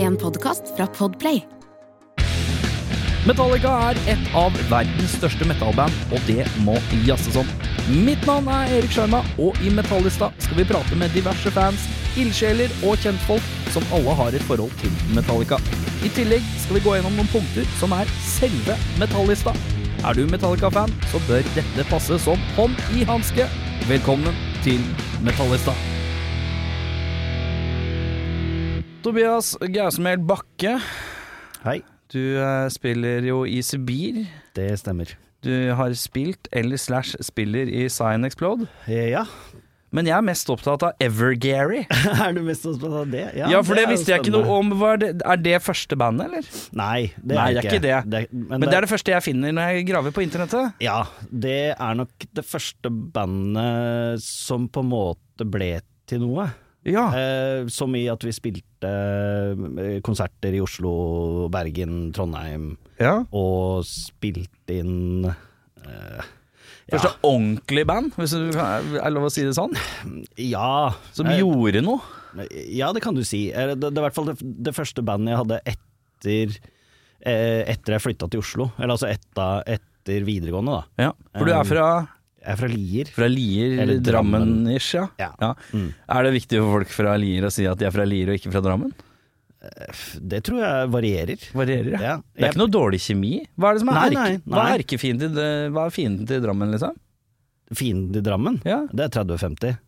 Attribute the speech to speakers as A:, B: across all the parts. A: En podkast fra Podplay.
B: Metallica er et av verdens største metalband, og det må jazzes om. Mitt navn er Erik Sjarma, og i Metallista skal vi prate med diverse fans, ildsjeler og kjentfolk som alle har et forhold til Metallica. I tillegg skal vi gå gjennom noen punkter som er selve Metallista. Er du Metallica-fan, så bør dette passe som hånd i hanske. Velkommen til Metallista. Tobias Gausmel Bakke,
C: Hei.
B: du eh, spiller jo i Sibir.
C: Det stemmer.
B: Du har spilt eller slash spiller i Cyan Explode.
C: Eh, Ja.
B: Men jeg er mest opptatt av Evergary.
C: er du mest opptatt av det?
B: Ja, for det, visste jeg ikke noe om. Var det, er det første bandet, eller?
C: Nei, det
B: Nei, det
C: er,
B: er ikke det.
C: men,
B: Men det er
C: det
B: det første jeg finner når jeg graver på internettet.
C: Ja, det er nok det første bandet som på en måte ble til noe.
B: Ja.
C: Eh, som i at vi spilte eh, konserter i Oslo, Bergen, Trondheim,
B: ja.
C: og spilte inn eh,
B: Første ordentlig band, hvis det er lov å si det sånn,
C: Ja.
B: som
C: eh,
B: gjorde noe.
C: Ja, det kan du si. Eh, Det, det er i hvert fall det, det første bandet jeg hadde etter eh, Etter jeg flytta til Oslo. Eller altså etter, etter videregående, da.
B: Ja. For du er fra,
C: Jeg er fra Lier.
B: fra Lier,
C: Eller Drammen.
B: Drammen-ish, ja. Mm.
C: Ja.
B: ja. Er det viktig for folk fra Lier å si at de er fra Lier og ikke fra Drammen?
C: Det tror jeg varierer.
B: Varierer, ja.
C: Ja.
B: Det er ikke noe dårlig kjemi. Hva er det som er,
C: Nei,
B: erke,
C: nei,
B: Hva
C: nei.
B: er erkefienden til, hva er fienden til Drammen, liksom?
C: Jeg- Fienden i Drammen,
B: Ja.
C: det er 30-50.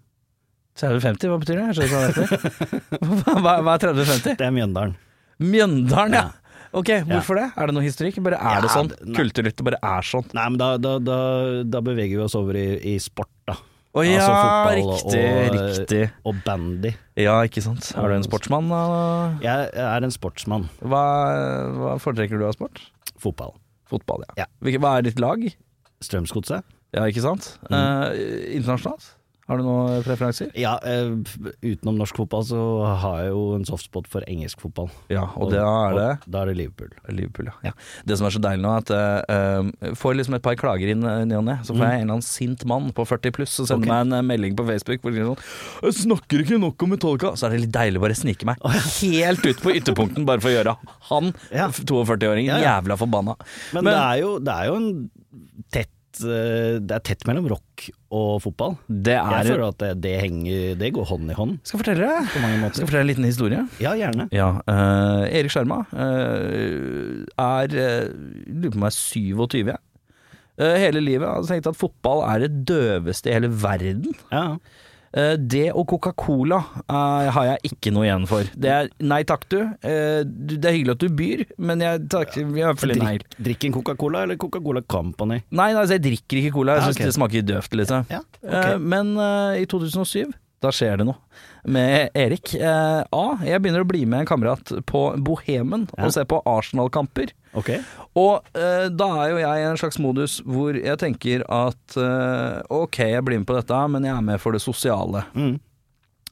B: 30-50, hva betyr det? Jeg skjønner ikke hva det heter. Hva- hva, hva er 30-50?
C: Det er Mjøndalen.
B: Mjøndalen, ja. Ok, hvorfor det? Er det noe historikk? Bare er det
C: Ja,
B: sånn?
C: det- nei.
B: Kulturlyttet bare er sånn.
C: Nei, men da, da, da, da beveger vi oss over i, i sport, da.
B: Å
C: Altså
B: ja,
C: fotball og-
B: riktig,
C: og-
B: riktig.
C: Og bandy.
B: Ja, ikke sant. Er du en sportsmann? da?
C: Jeg er en sportsmann.
B: Hva, hva foretrekker du av sport?
C: Fotball.
B: Fotball, ja.
C: Ja.
B: Hvilke- Hva er ditt lag?
C: Strømsgodset.
B: Ja, ikke sant? Eh, internasjonalt? Har du noen preferanser?
C: Ja, eh, utenom norsk fotball så har jeg jo en softspot for engelsk fotball.
B: Ja, og da er det
C: Da er det Liverpool.
B: Liverpool, ja. ja. Det som er så deilig nå, er at eh, eh, får liksom et par klager inn eh, ny og ne, så får jeg en eller annen sint mann på 40 pluss og sender
C: Ok.
B: meg en eh, melding på Facebook hvor det er sånn 'Jeg snakker ikke nok om Metallica', så er det litt deilig å bare snike meg helt ut på ytterpunkten bare for å gjøre han,
C: Ja.
B: 42-åringen,
C: Ja, ja.
B: jævla forbanna.
C: Men, det, er jo, det er jo en tett eh, Det er tett mellom rock og fotball.
B: det
C: Jeg
B: er
C: føler at det, det henger Det går hånd i hånd
B: Skal fortelle deg
C: på mange
B: skal
C: måter.
B: fortelle en liten historie.
C: Ja, gjerne.
B: Ja, eh, Erik Skjerma eh, er eh, Lurer på om jeg er 27. jeg. Eh, hele livet har jeg tenkt at fotball er det døveste i hele verden.
C: Ja.
B: Eh, Det og Coca-Cola eh, har jeg ikke noe igjen for. Det er nei takk, du. Eh, du- Det er hyggelig at du byr, men jeg takker jeg føler nei.
C: Drikk, drikk en Coca-Cola eller Coca-Cola Company.
B: Nei, nei, altså, jeg drikker ikke cola. Jeg
C: Ja,
B: syns
C: ok.
B: det smaker døvt, liksom.
C: Ja, ok.
B: Eh, Men eh, i 2007 da skjer det noe med Erik. Eh, A. Jeg begynner å bli med en kamerat på Bohemen
C: Ja.
B: og se på Arsenal-kamper.
C: Ok.
B: Og eh, da er jo jeg i en slags modus hvor jeg tenker at eh, ok, jeg blir med på dette, men jeg er med for det sosiale.
C: Mm.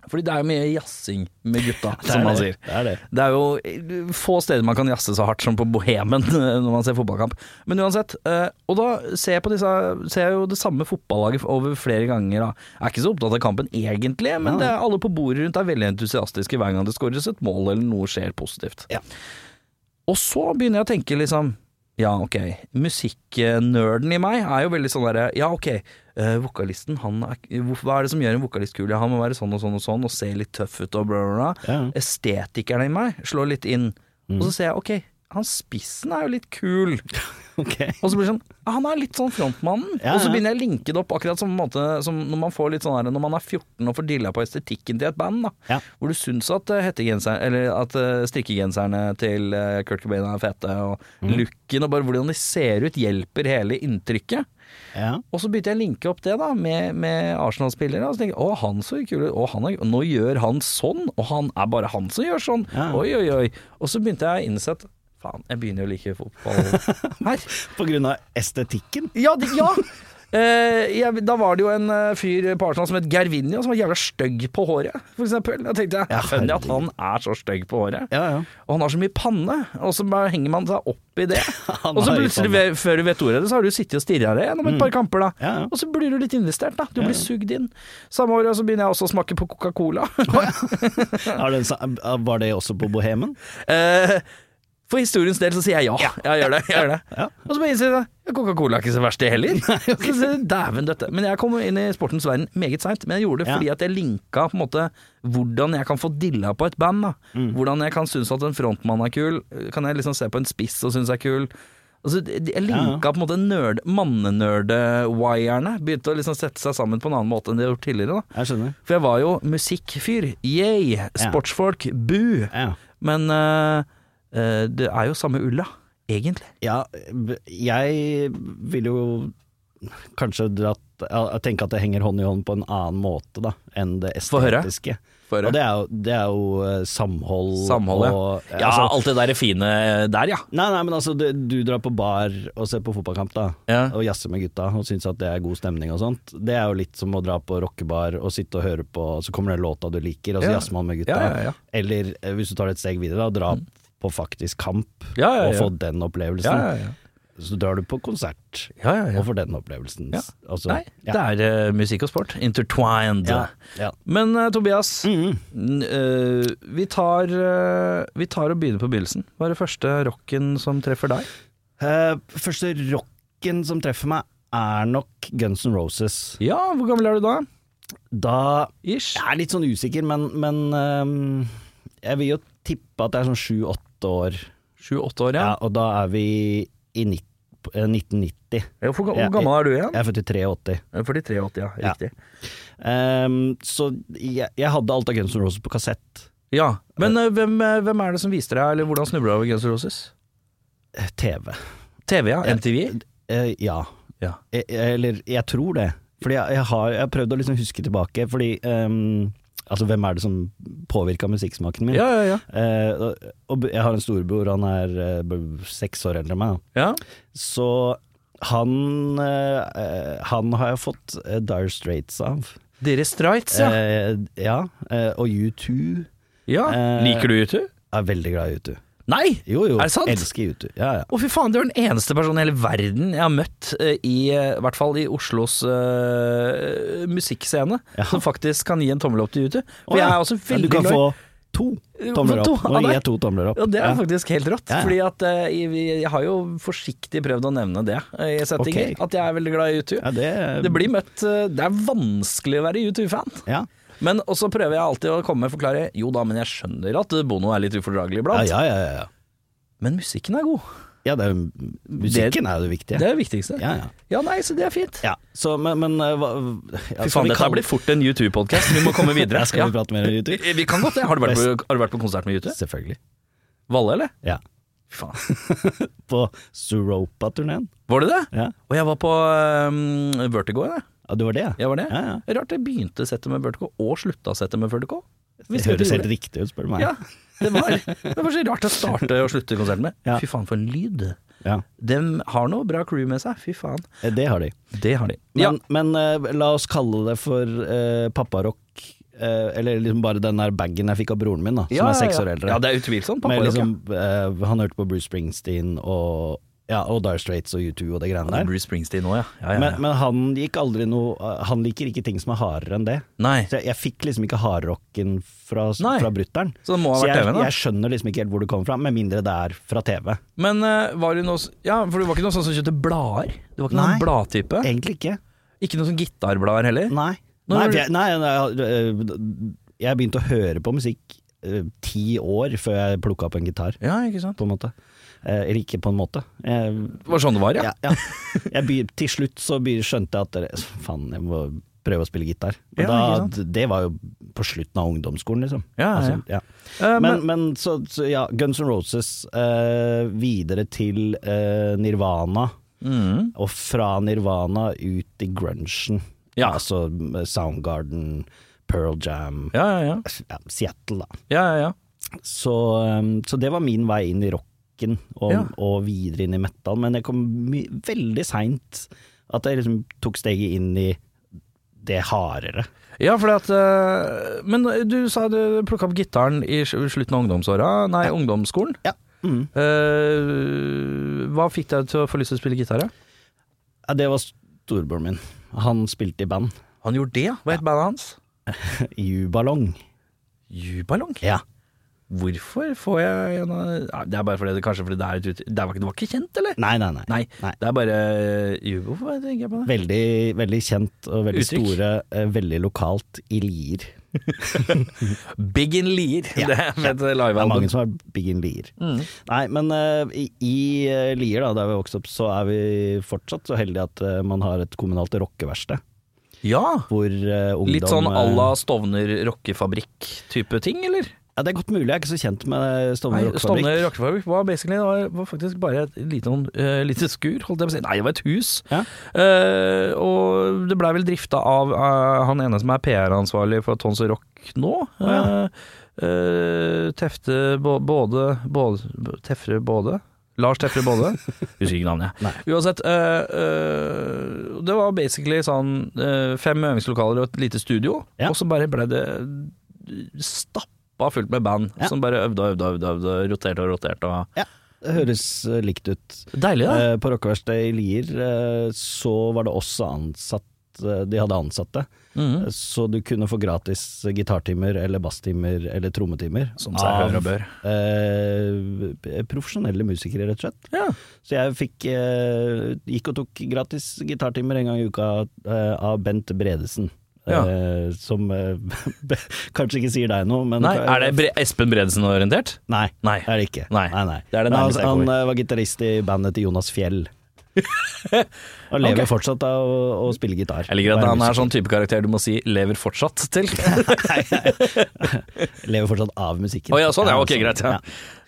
B: Fordi det er jo mye jazzing med gutta, som man sier.
C: Det er det.
B: Det er jo eh, få steder man kan jazze så hardt som på Bohemen når man ser fotballkamp. Men uansett, eh, og da ser jeg, på disse, ser jeg jo det samme fotballaget over flere ganger. Da. Jeg er ikke så opptatt av kampen egentlig, men
C: Nei.
B: det er alle på bordet rundt er veldig entusiastiske hver gang det skåres et mål eller noe skjer positivt.
C: Ja.
B: Og så begynner jeg å tenke liksom ja, ok, musikknerden i meg er jo veldig sånn derre Ja, ok, eh, vokalisten, han er hvor- Hva er det som gjør en vokalist kul? Ja, han må være sånn og sånn og sånn, og se litt tøff ut og bla, bla, bla
C: Ja.
B: estetikeren i meg slår litt inn. Og så
C: Mm.
B: ser jeg ok, han spissen er jo litt kul.
C: Ok.
B: Og så blir det sånn, «Ah, han er litt sånn frontmannen.
C: Ja,
B: Og så
C: ja.
B: begynner jeg å linke det opp akkurat som, på en måte, som når man får litt sånn her, når man er 14 og får dilla på estetikken til et band. da.
C: Ja.
B: Hvor du syns at, eh, hettegenseren- eller at eh, strikkegenserne til eh, Kurt Cobain er fete, og
C: Mm.
B: looken og bare hvordan de ser ut hjelper hele inntrykket.
C: Ja.
B: Og så begynte jeg å linke opp det da med, med Arsenal-spillere. Og så tenkte jeg å, han så kul ut. Å, han er, nå gjør han sånn, og han er bare han som gjør sånn.
C: Ja.
B: Oi, oi, oi. Og så begynte jeg å innse at faen, jeg begynner jo å like fotball her.
C: På grunn av estetikken.
B: Ja, det, ja. Eh, jeg, da var det jo en eh, fyr på Arsenal som het Gervinho, som var jævla stygg på håret, for eksempel. Da tenkte jeg,
C: Ja,
B: jeg skjønner at han er så stygg på håret.
C: Ja, ja.
B: Og han har så mye panne, og så bare henger man seg opp i det.
C: Han
B: og så
C: har jo
B: plutselig, ve-
C: panne.
B: før du vet ordet av det, så har du sittet og stirra deg gjennom et par kamper, da.
C: Mm. Ja, ja.
B: Og så blir du litt investert, da. Du blir sugd inn. Samme året så begynner jeg også å smake på Coca-Cola.
C: Er det en sa- var det også på Bohemen?
B: Eh, For historiens del så sier jeg ja. Jeg gjør det. jeg gjør det
C: Ja.
B: Og så bare innser jeg at Coca-Cola er ikke så verst, det heller. Så sier jeg, Dæven døtte. Men jeg kom inn i sportens verden meget seint. Men jeg gjorde det
C: Ja.
B: fordi at jeg linka på en måte hvordan jeg kan få dilla på et band. da
C: Mm.
B: Hvordan jeg kan synes at en frontmann er kul. Kan jeg liksom se på en spiss og synes er kul. Altså, jeg linka på en måte nerd, mannenerde-wirene. Begynte å liksom sette seg sammen på en annen måte enn de har gjort tidligere. da
C: Jeg skjønner.
B: For jeg var jo musikkfyr. Yay! Sportsfolk. Bu!
C: Ja.
B: Men øh, øh, det er jo samme ulla, egentlig.
C: ja, b- jeg vil jo kanskje dratt Jeg tenker at det henger hånd i hånd på en annen måte da, enn det
B: Få høre.
C: estetiske. Og det er jo, det er jo eh, samhold
B: Samholdet.
C: og
B: ja,
C: altså,
B: alt det der fine eh, der, ja.
C: Nei, nei, men altså, du, du drar på bar og ser på fotballkamp, da.
B: Ja.
C: Og jazzer med gutta og syns at det er god stemning og sånt. Det er jo litt som å dra på rockebar og sitte og høre på, så kommer den låta du liker, og så
B: Ja.
C: jazzer man med gutta.
B: Ja, ja, ja.
C: Eller eh, hvis du tar det et steg videre, da, dra på faktisk kamp
B: Ja, ja,
C: og
B: ja.
C: få den opplevelsen.
B: Ja, ja, ja.
C: Så drar du på konsert
B: Ja, ja, ja.
C: og får den opplevelsen.
B: Ja.
C: Altså,
B: Nei,
C: ja.
B: det er øh, musikk og sport. Intertwined.
C: Ja, ja.
B: Men øh, Tobias,
C: Mhm.
B: n- øh, vi, tar, øh, vi tar og begynner på begynnelsen. Hva er det første rocken som treffer deg?
C: Eh, første rocken som treffer meg, er nok Guns N' Roses.
B: Ja, hvor gammel er du da?
C: Da
B: Ish.
C: Jeg er litt sånn usikker, men, men øhm, jeg vil jo tippe at det er sånn sju-åtte år.
B: Sju-åtte år,
C: Ja.
B: ja.
C: og da er vi i nitt- eh, 1990.
B: Ja, Hvor, ga-
C: Ja,
B: hvor gammel er du igjen?
C: Jeg er født i 83.
B: 43-80, ja.
C: Ja.
B: Riktig.
C: Ehm, så jeg, jeg hadde alt av Guns N' Roses på kassett.
B: Ja. Men øh, hvem, øh, hvem er det som viste deg, eller hvordan snubla du over Guns N' Roses?
C: Eh, TV.
B: TV, ja.
C: Ja.
B: MTV.
C: Eh, ja.
B: Ja.
C: Eh, Eller jeg tror det. Fordi jeg, jeg, har, jeg har prøvd å liksom huske tilbake, fordi ehm, Altså, hvem er det som påvirka musikksmaken min?
B: Ja, ja, ja.
C: Eh, og, og jeg har en storebror, han er eh, b- seks år eldre enn meg. Da.
B: ja.
C: Så han eh, Han har jeg fått eh, Dire Straits av.
B: Dere Strites, ja.
C: Eh, ja eh, og U2
B: ja.
C: eh,
B: Liker du YouTube?
C: er veldig glad i U2.
B: Nei!
C: Jo, jo,
B: Er det sant?
C: elsker U2. Ja, ja.
B: Å, fy faen, du er den eneste personen i hele verden jeg har møtt eh, i eh, hvert fall i Oslos eh, musikkscene,
C: Ja.
B: som faktisk kan gi en tommel opp til YouTube. For
C: Å, ja.
B: jeg er også
C: Ja,
B: veldig
C: du
B: glad
C: kan
B: i-
C: få to tomler
B: To
C: opp.
B: av
C: Nå gir
B: deg.
C: jeg to tomler opp.
B: Ja, det er
C: Ja.
B: faktisk helt rått.
C: Ja, ja.
B: Fordi at eh, jeg, jeg har jo forsiktig prøvd å nevne det eh, i settinger,
C: Ok.
B: at jeg er veldig glad i YouTube.
C: Ja, det,
B: Det blir møtt eh, Det er vanskelig å være YouTube-fan.
C: ja.
B: Men også prøver jeg alltid å komme med forklare Jo da, men jeg skjønner at Bono er litt ufordragelig
C: Ja,
B: iblant.
C: ja, ja, ja.
B: Men musikken er god.
C: ja det er, jo- musikken er jo det viktige.
B: Det er det viktigste.
C: Ja, ja.
B: nei, så det er fint.
C: ja. Så, men, men eh, hva
B: Fy
C: ja, skal
B: faen,
C: vi
B: dette
C: kalle-
B: blir fort en YouTube-podkast. Vi må komme videre.
C: Ja, skal vi prate mer om U2?
B: Ja. Eh, Vi kan godt det. Har du vært på, har du vært på konsert med YouTube?
C: Selvfølgelig.
B: Valle, eller?
C: Ja.
B: Fy faen.
C: På Suropa-turneen.
B: Var det det?
C: Ja.
B: Og jeg var på um, Vertigo, jeg.
C: ja, det var det,
B: jeg var det.
C: Ja, ja.
B: Rart jeg begynte settet med Vertigo, og slutta settet med Vertigo.
C: Det høres helt riktig ut, spør du meg.
B: Ja, det var, det var så rart å starte og slutte konserten med.
C: Ja.
B: Fy faen, for en lyd.
C: Ja, eh,
B: De har noe bra crew med seg, fy faen.
C: det har de.
B: Det har de. Ja,
C: Men, men eh, la oss kalle det for eh, papparock, eh, eller liksom bare den der bagen jeg fikk av broren min, da, som
B: ja,
C: er seks
B: ja.
C: år eldre.
B: Ja, det er utvilsomt. Pappa,
C: Med liksom, eh, han hørte på Bruce Springsteen og, ja, og Dire Straits og U2 og det greiene der.
B: Bruce Springsteen òg, ja. ja, ja, ja.
C: Men, men han gikk aldri noe eh, Han liker ikke ting som er hardere enn det.
B: Nei.
C: Så jeg, jeg fikk liksom ikke hardrocken fra,
B: Nei.
C: fra brutter'n.
B: Så det må ha vært
C: jeg,
B: TV-en, da.
C: jeg skjønner liksom ikke helt hvor det kommer fra, med mindre det er fra TV.
B: Men eh, var det noe s- Ja, for du var ikke noe sånn som kjøpte blader? Du var ikke
C: Nei.
B: noen bladtype?
C: Egentlig ikke.
B: Ikke noen sånn gitarblader heller?
C: Nei.
B: Når var
C: Nei, for
B: det-
C: jeg, nei, nei jeg- jeg begynte å høre på musikk eh, ti år før jeg plukka opp en gitar,
B: Ja, ikke sant.
C: på en måte. Eh, Eller ikke på en måte. Jeg,
B: Det var sånn det var, ja?
C: ja, ja. jeg, begy- til slutt så begy- skjønte jeg at det- Faen, jeg må prøve å spille gitar. Og
B: Ja,
C: da,
B: ikke
C: det var jo på slutten av ungdomsskolen, liksom.
B: Ja, ja, ja.
C: Altså, ja.
B: Eh, men,
C: Men, men så, så ja, Guns N' Roses eh, videre til eh, Nirvana.
B: Mhm.
C: Og fra Nirvana ut i grungen.
B: Ja.
C: Altså Soundgarden, Pearl Jam,
B: ja, ja, ja.
C: ja, Seattle, da.
B: ja, ja, ja.
C: Så, um, så det var min vei inn i rocken og,
B: Ja.
C: og videre inn i metal, men jeg kom my veldig seint At jeg liksom tok steget inn i det hardere.
B: Ja, fordi at eh, Men du sa du plukka opp gitaren i sl- slutten av ungdomsåra. Nei, ungdomsskolen.
C: Ja. Mm.
B: Eh, hva fikk deg til å få lyst til å spille gitar? ja?
C: Ja, det var storebroren min. Han spilte i band.
B: Han gjorde det, ja. Hva het bandet hans?
C: Jubalong.
B: Jubalong.
C: Ja.
B: Hvorfor får jeg en av Nei, Det er bare fordi det, kanskje fordi det er et ut... Det var ikke, det var ikke kjent, eller?
C: Nei, nei, nei.
B: Nei.
C: Nei.
B: Det er bare Jubo, hvorfor tenker jeg på det?
C: Veldig, veldig kjent og veldig
B: Uttrykk.
C: store, eh, veldig lokalt i Lier.
B: Big in Lier. det er med et
C: Det er mange
B: livealbum.
C: som er big in Lier.
B: Mm.
C: Nei, men eh, i, i eh, Lier, da, der vi vokste opp, så er vi fortsatt så heldige at eh, man har et kommunalt rockeverksted.
B: Ja.
C: Hvor eh, ungdom
B: Litt sånn à
C: eh,
B: la Stovner rockefabrikk-type ting, eller?
C: Ja, det er godt mulig, jeg er ikke så kjent med eh, Stovner
B: Nei,
C: rockefabrikk.
B: Stovner rockefabrikk var basically det var, var faktisk bare et lite, noen, eh, lite skur, holdt jeg på å si. Nei, det var et hus.
C: Ja.
B: Eh, og det blei vel drifta av eh, han ene som er PR-ansvarlig for Tons og Rock nå.
C: Ja.
B: Eh, eh, tefte Bå- både, både Tefre Både? Lars Tefre Både? Husker ikke navnet, jeg. Uansett. eh, eh, det var basically sånn eh, fem øvingslokaler og et lite studio,
C: Ja.
B: og så bare blei det stappa fullt med band
C: Ja.
B: som bare øvde og øvde og øvde, og øvde, roterte og roterte og
C: Det høres eh, likt ut.
B: Deilig, da.
C: Eh, På rockeverkstedet i Lier eh, så var det også ansatt eh, De hadde ansatte,
B: Mhm.
C: så du kunne få gratis gitartimer eller basstimer eller trommetimer
B: Som seg hør og bør.
C: eh, profesjonelle musikere, rett og slett.
B: Ja.
C: Så jeg fikk, eh, gikk og tok gratis gitartimer en gang i uka eh, av Bent Bredesen.
B: Ja.
C: Eh, som eh, kanskje ikke sier deg noe, men
B: Nei, er det Bre Espen Bredesen-orientert?
C: Nei,
B: Nei.
C: det er det ikke.
B: Nei.
C: Nei, nei.
B: Det er det
C: Men
B: nærmeste jeg
C: han,
B: kommer.
C: han eh, var gitarist i bandet til Jonas Fjell. Og lever
B: Ok.
C: fortsatt av å, å spille gitar.
B: Jeg liker at
C: Være
B: han er
C: musiker.
B: sånn type karakter du må si 'lever fortsatt' til.
C: Lever fortsatt av musikken.
B: Å ja, sånn ja, ok, greit. Ja.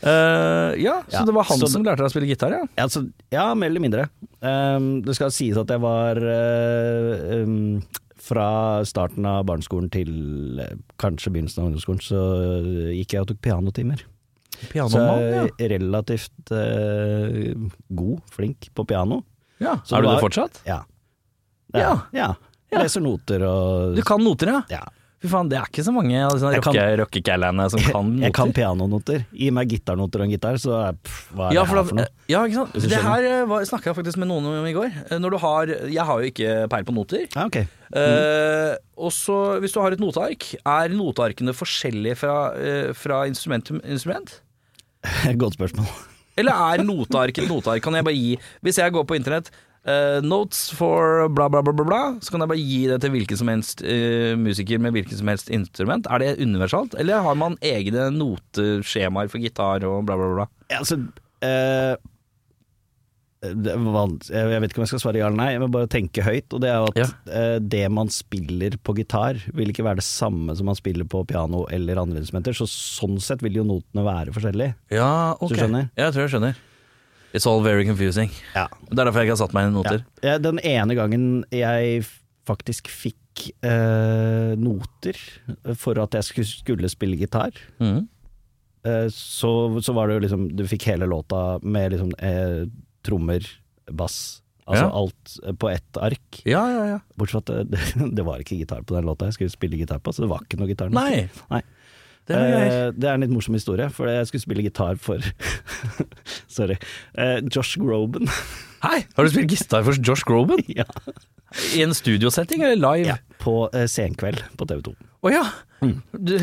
B: Eh, ja, så
C: Ja,
B: det var han
C: så-
B: som lærte deg å spille gitar, ja.
C: Ja, altså, ja, mer eller mindre. Ehm, det skal sies at jeg var eh, ehm, Fra starten av barneskolen til eh, kanskje begynnelsen av ungdomsskolen, så gikk jeg og tok pianotimer. Så
B: Pianomann,
C: jeg er relativt eh, god, flink på piano.
B: ja. ja.
C: Så
B: Er du
C: det
B: det
C: var-
B: fortsatt?
C: Ja.
B: Ja.
C: ja.
B: Ja.
C: Leser noter og
B: Du kan noter, ja?
C: ja.
B: Fy faen, det er ikke så mange av disse
C: Jeg kan-
B: rocke- rockekallene som kan noter.
C: Jeg kan pianonoter. Gi meg gitarnoter og en gitar, så er- pff, hva er
B: Ja,
C: det
B: for
C: her for
B: da,
C: noe?
B: ja, ikke sant.
C: Hvis du
B: Det
C: skjønner.
B: her eh, var- snakket jeg faktisk med noen om i går. Eh, Når du har Jeg har jo ikke peil på noter.
C: Ja, ok.
B: Eh, og så, hvis du har et noteark, er notearkene forskjellige fra, eh, fra instrument til instrument?
C: Godt spørsmål.
B: Eller er noteark et noteark? Kan jeg bare gi Hvis jeg går på internett eh, notes for bla, bla, bla, bla, bla, så kan jeg bare gi det til hvilken som helst eh, musiker med hvilket som helst instrument. Er det universalt, eller har man egne noteskjemaer for gitar og bla, bla, bla?
C: Ja, altså eh, det er vans- Jeg jeg vet ikke om jeg skal svare ja eller nei, jeg må bare tenke høyt. Og det er jo at eh, det man spiller på gitar, vil ikke være det samme som man spiller på piano eller andre instrumenter. Så sånn sett vil jo notene være forskjellige.
B: Ja,
C: ok. Du skjønner?
B: Ja, jeg tror jeg skjønner. It's all very confusing.
C: Ja.
B: Det er derfor jeg ikke har satt meg inn i noter.
C: Ja, Den ene gangen jeg f- faktisk fikk eh, noter for at jeg skulle, skulle spille gitar,
B: Mhm.
C: eh, så, så var det jo liksom Du fikk hele låta med liksom eh, trommer, bass, altså
B: Ja.
C: alt eh, på ett ark.
B: Ja, ja, ja.
C: Bortsett fra at det, det var ikke gitar på den låta jeg skulle spille gitar på, så det var ikke noe gitar. nå.
B: Nei.
C: Nei.
B: Det er greier.
C: Eh, det er en litt morsom historie, for jeg skulle spille gitar for Sorry. Eh, Josh Groban.
B: Hei, har du spilt gitar for Josh Groban?
C: ja.
B: I en studiosetting, eller live?
C: ja. På eh, Senkveld på TV 2.
B: Å ja. Du,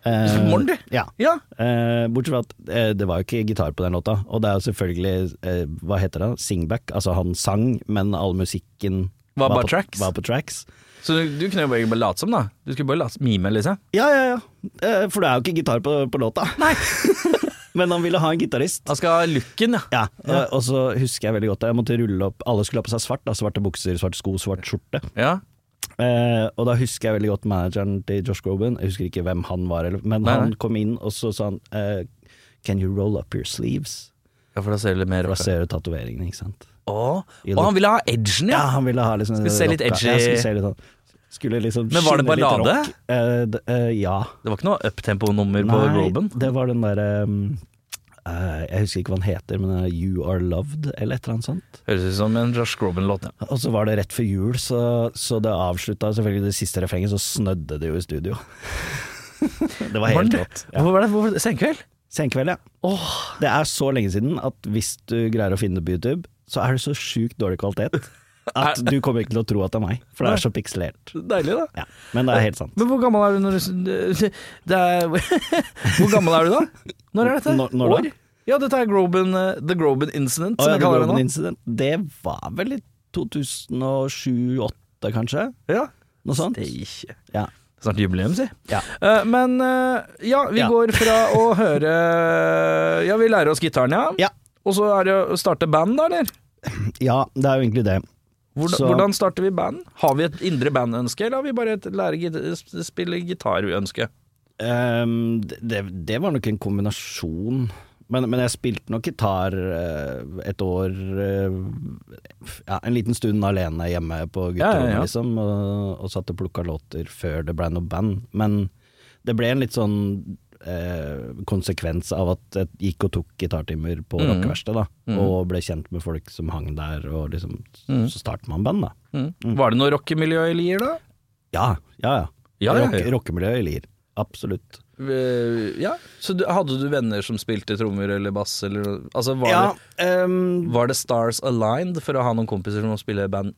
C: Eh,
B: Morgen, du.
C: Ja.
B: ja.
C: Eh, bortsett fra at eh, det var jo ikke gitar på den låta, og det er jo selvfølgelig eh, Hva heter det? Singback? Altså han sang, men all musikken
B: Var bare
C: på,
B: tracks?
C: Var på tracks.
B: Så du, du kunne jo bare bare late som, da. Du skulle bare late som mime, liksom.
C: Ja, ja, ja. Eh, for det er jo ikke gitar på, på låta. Nei. men han ville ha en gitarist.
B: Han skal ha looken, Altså, ja.
C: Ja, eh, og så husker jeg veldig godt Jeg måtte rulle opp Alle skulle ha på seg svart. Da, svarte bukser, svart sko, svart skjorte.
B: ja.
C: Eh, og da husker jeg veldig godt manageren til Josh Groban. Jeg husker ikke hvem han var, eller, men
B: Nei,
C: han
B: nei.
C: kom inn og så sa han eh, Can you roll up your sleeves?
B: Ja, for da ser det litt mer
C: Da
B: rart ut.
C: ser du tatoveringene, ikke sant.
B: Å, og han ville ha edgen,
C: Ja,
B: ja.
C: han ville ha liksom
B: Skulle se litt
C: rocka-
B: edgy-
C: Ja, skulle se litt sånn. Skulle liksom
B: Men var det
C: skinne litt
B: ballade?
C: rock. Eh, d- eh, ja.
B: Det var ikke noe uptempo-nummer på
C: Nei,
B: Groban.
C: det var den derre um, eh, Jeg husker ikke hva den heter, men eh, You Are Loved, eller et eller annet sånt.
B: Høres ut som en Josh Groban-låt. Ja.
C: Og så var det rett før jul, så, så det avslutta selvfølgelig det siste refrenget, så snødde det jo i studio. det var helt rått. Ja.
B: Hvorfor var det hvorfor, senkveld?
C: Senkveld, ja. Det er så lenge siden at hvis du greier å finne det på YouTube, så er det så sjukt dårlig kvalitet at du kommer ikke til å tro at det er meg, for det er så pikselert.
B: Deilig, da.
C: Ja, men det er helt sant.
B: Men hvor gammel er du når du det er, Hvor gammel er du da? Når er dette?
C: Når- når da?
B: År? Ja, dette er Groban, eh, The Groban Incident,
C: Å,
B: som
C: ja,
B: jeg
C: det,
B: kaller det
C: Groban
B: nå.
C: Incident, det var vel i 2007-2008, kanskje?
B: Ja.
C: Noe sånt?
B: Det er ikke
C: Ja.
B: Snart jubileum, si.
C: Ja.
B: Eh, men eh, ja, vi
C: Ja.
B: går fra å høre eh, Ja, vi lærer oss gitaren, ja.
C: Ja.
B: Og så er det å starte band, da, eller?
C: ja, det er jo egentlig det.
B: Hvordan,
C: Så-
B: hvordan starter vi band? Har vi et indre bandønske, eller har vi bare et lære git- spille gitarønske?
C: Ehm, det, det var nok en kombinasjon. Men, men jeg spilte nok gitar eh, et år eh, ja, En liten stund alene hjemme på gutterommet,
B: Ja, ja, ja.
C: liksom. Og, og satt og plukka låter før det blei noe band. Men det ble en litt sånn eh, konsekvens av at jeg gikk og tok gitartimer på
B: Mhm.
C: rockeverkstedet, da.
B: Mhm.
C: Og ble kjent med folk som hang der, og liksom
B: Mhm.
C: Så starter man band, da.
B: Mm. Var det noe rockemiljø i Lier, da?
C: Ja, ja, ja.
B: Ja, ja,
C: Rock-
B: ja.
C: Rockemiljøet i Lier. Absolutt.
B: Eh, ja. Så du, hadde du venner som spilte trommer eller bass, eller noe? Altså, var,
C: ja,
B: det,
C: ehm,
B: var det stars aligned for å ha noen kompiser som spiller band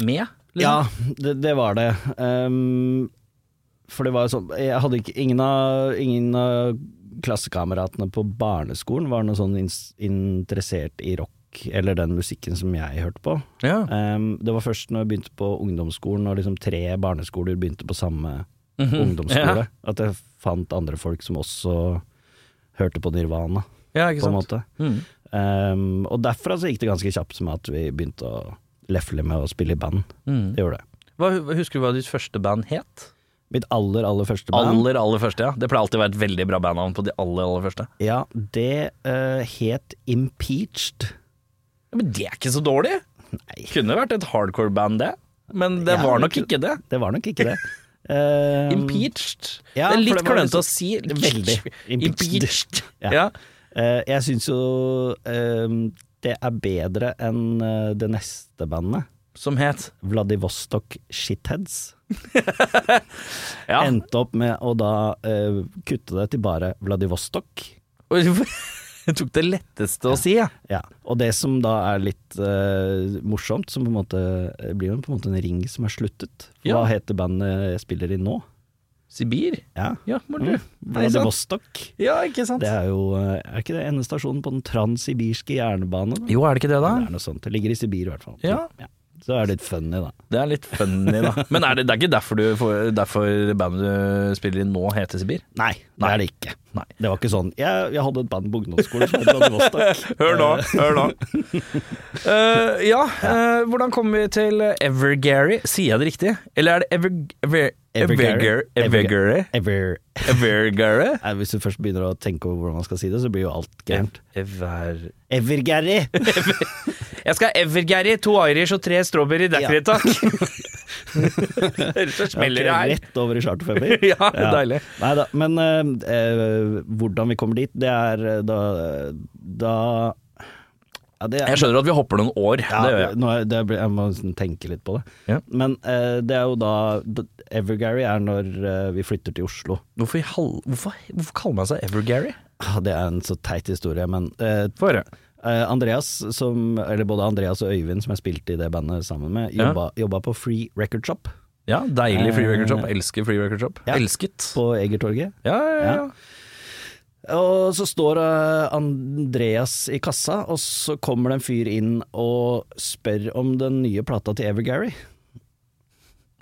B: med? liksom?
C: Ja, det, det var det. Ehm, for det var jo sånn Jeg hadde ikke Ingen av, ingen av klassekameratene på barneskolen var noe sånn ins- interessert i rock eller den musikken som jeg hørte på.
B: Ja.
C: Ehm, det var først når jeg begynte på ungdomsskolen, og liksom tre barneskoler begynte på samme
B: Mhm,
C: ungdomsskole, at jeg fant andre folk som også hørte på Nirvana,
B: ja, ikke
C: på en
B: sant.
C: måte.
B: Mm.
C: Ehm, og derfra så gikk det ganske kjapt med at vi begynte å lefle med å spille i band.
B: Mm.
C: Det gjorde det.
B: Hva, husker du hva ditt første band het?
C: Mitt aller, aller første band.
B: Aller, aller første, ja. Det pleier alltid å være et veldig bra bandnavn på de aller, aller første.
C: Ja, det eh, het Impeached.
B: Ja, men det er ikke så dårlig!
C: Nei,
B: Kunne vært et hardcore band, det. Men det
C: Ja,
B: var
C: men
B: nok
C: ikke-
B: ikke det.
C: det var nok ikke det. Eh,
B: Impeached. det
C: ja,
B: er
C: for
B: litt
C: det var
B: klønete
C: liksom-
B: å si.
C: Veldig.
B: Impeached.
C: Ja.
B: Ja.
C: eh, jeg syns jo eh, det er bedre enn eh, det neste bandet,
B: Som het
C: Vladivostok Shitheads.
B: Ja.
C: Endte opp med å da eh, kutte det til bare Vladivostok.
B: Jeg tok det letteste å si, jeg.
C: Ja, og det som da er litt eh, morsomt, som på en måte eh, blir jo på en måte en ring som er sluttet. Hva
B: Ja.
C: heter bandet jeg spiller i nå?
B: Sibir?
C: Ja,
B: Ja, må du.
C: Mm.
B: Nei, sant?
C: Vladivostok.
B: Ja, ikke sant?
C: Det er jo eh, er ikke det endestasjonen på den transsibirske jernbanen?
B: Jo, er det ikke det, da?
C: Det er noe sånt. Det ligger i Sibir i hvert fall.
B: Ja.
C: Så er det litt funny, da.
B: Det er litt funny, da. Men er det, det er ikke derfor, du, får- derfor bandet du spiller i nå, heter Sibir?
C: Nei, det er det ikke.
B: Nei.
C: Det var ikke sånn. Jeg, jeg hadde et band på ungdomsskolen som het Vladivostok.
B: Hør nå, hør nå. Eh, ja, eh, hvordan kommer vi til Evergary? Sier jeg det riktig? Eller er det Ever... Ever Evergary?
C: Evergary.
B: Evergary?
C: Ever.
B: Evergary?
C: Nei, Hvis du først begynner å tenke over hvordan man skal si det, så blir jo alt gærent.
B: Ever...
C: Evergary!
B: Jeg skal ha Evergary, to Irish og tre strawberry daiquiri, takk. Ellers så smeller det her.
C: Rett over i charterfeber.
B: Ja, deilig.
C: Nei da, men eh, eh, hvordan vi kommer dit, det er eh, da Da ja, det er,
B: Jeg skjønner at vi hopper noen år,
C: Ja,
B: det gjør jeg.
C: Nå, er- det, blir- jeg må nesten tenke litt på det.
B: Ja.
C: Men eh, det er jo da d- Evergary er når eh, vi flytter til Oslo.
B: Hvorfor, i hal- hvorfor, hvorfor kaller man seg Evergary?
C: Ah, Det er en så teit historie, men eh,
B: Få høre.
C: eh, Andreas, som, eller både Andreas og Øyvind, som jeg spilte i det bandet sammen med,
B: Ja.
C: jobba, jobba på Free Record Shop
B: Ja, deilig free record shop. Elsker free record shop.
C: Eh. Ja.
B: Elsket.
C: på Egertorget.
B: Ja, ja, ja.
C: Og så står eh, Andreas i kassa, og så kommer det en fyr inn og spør om den nye plata til Evergary.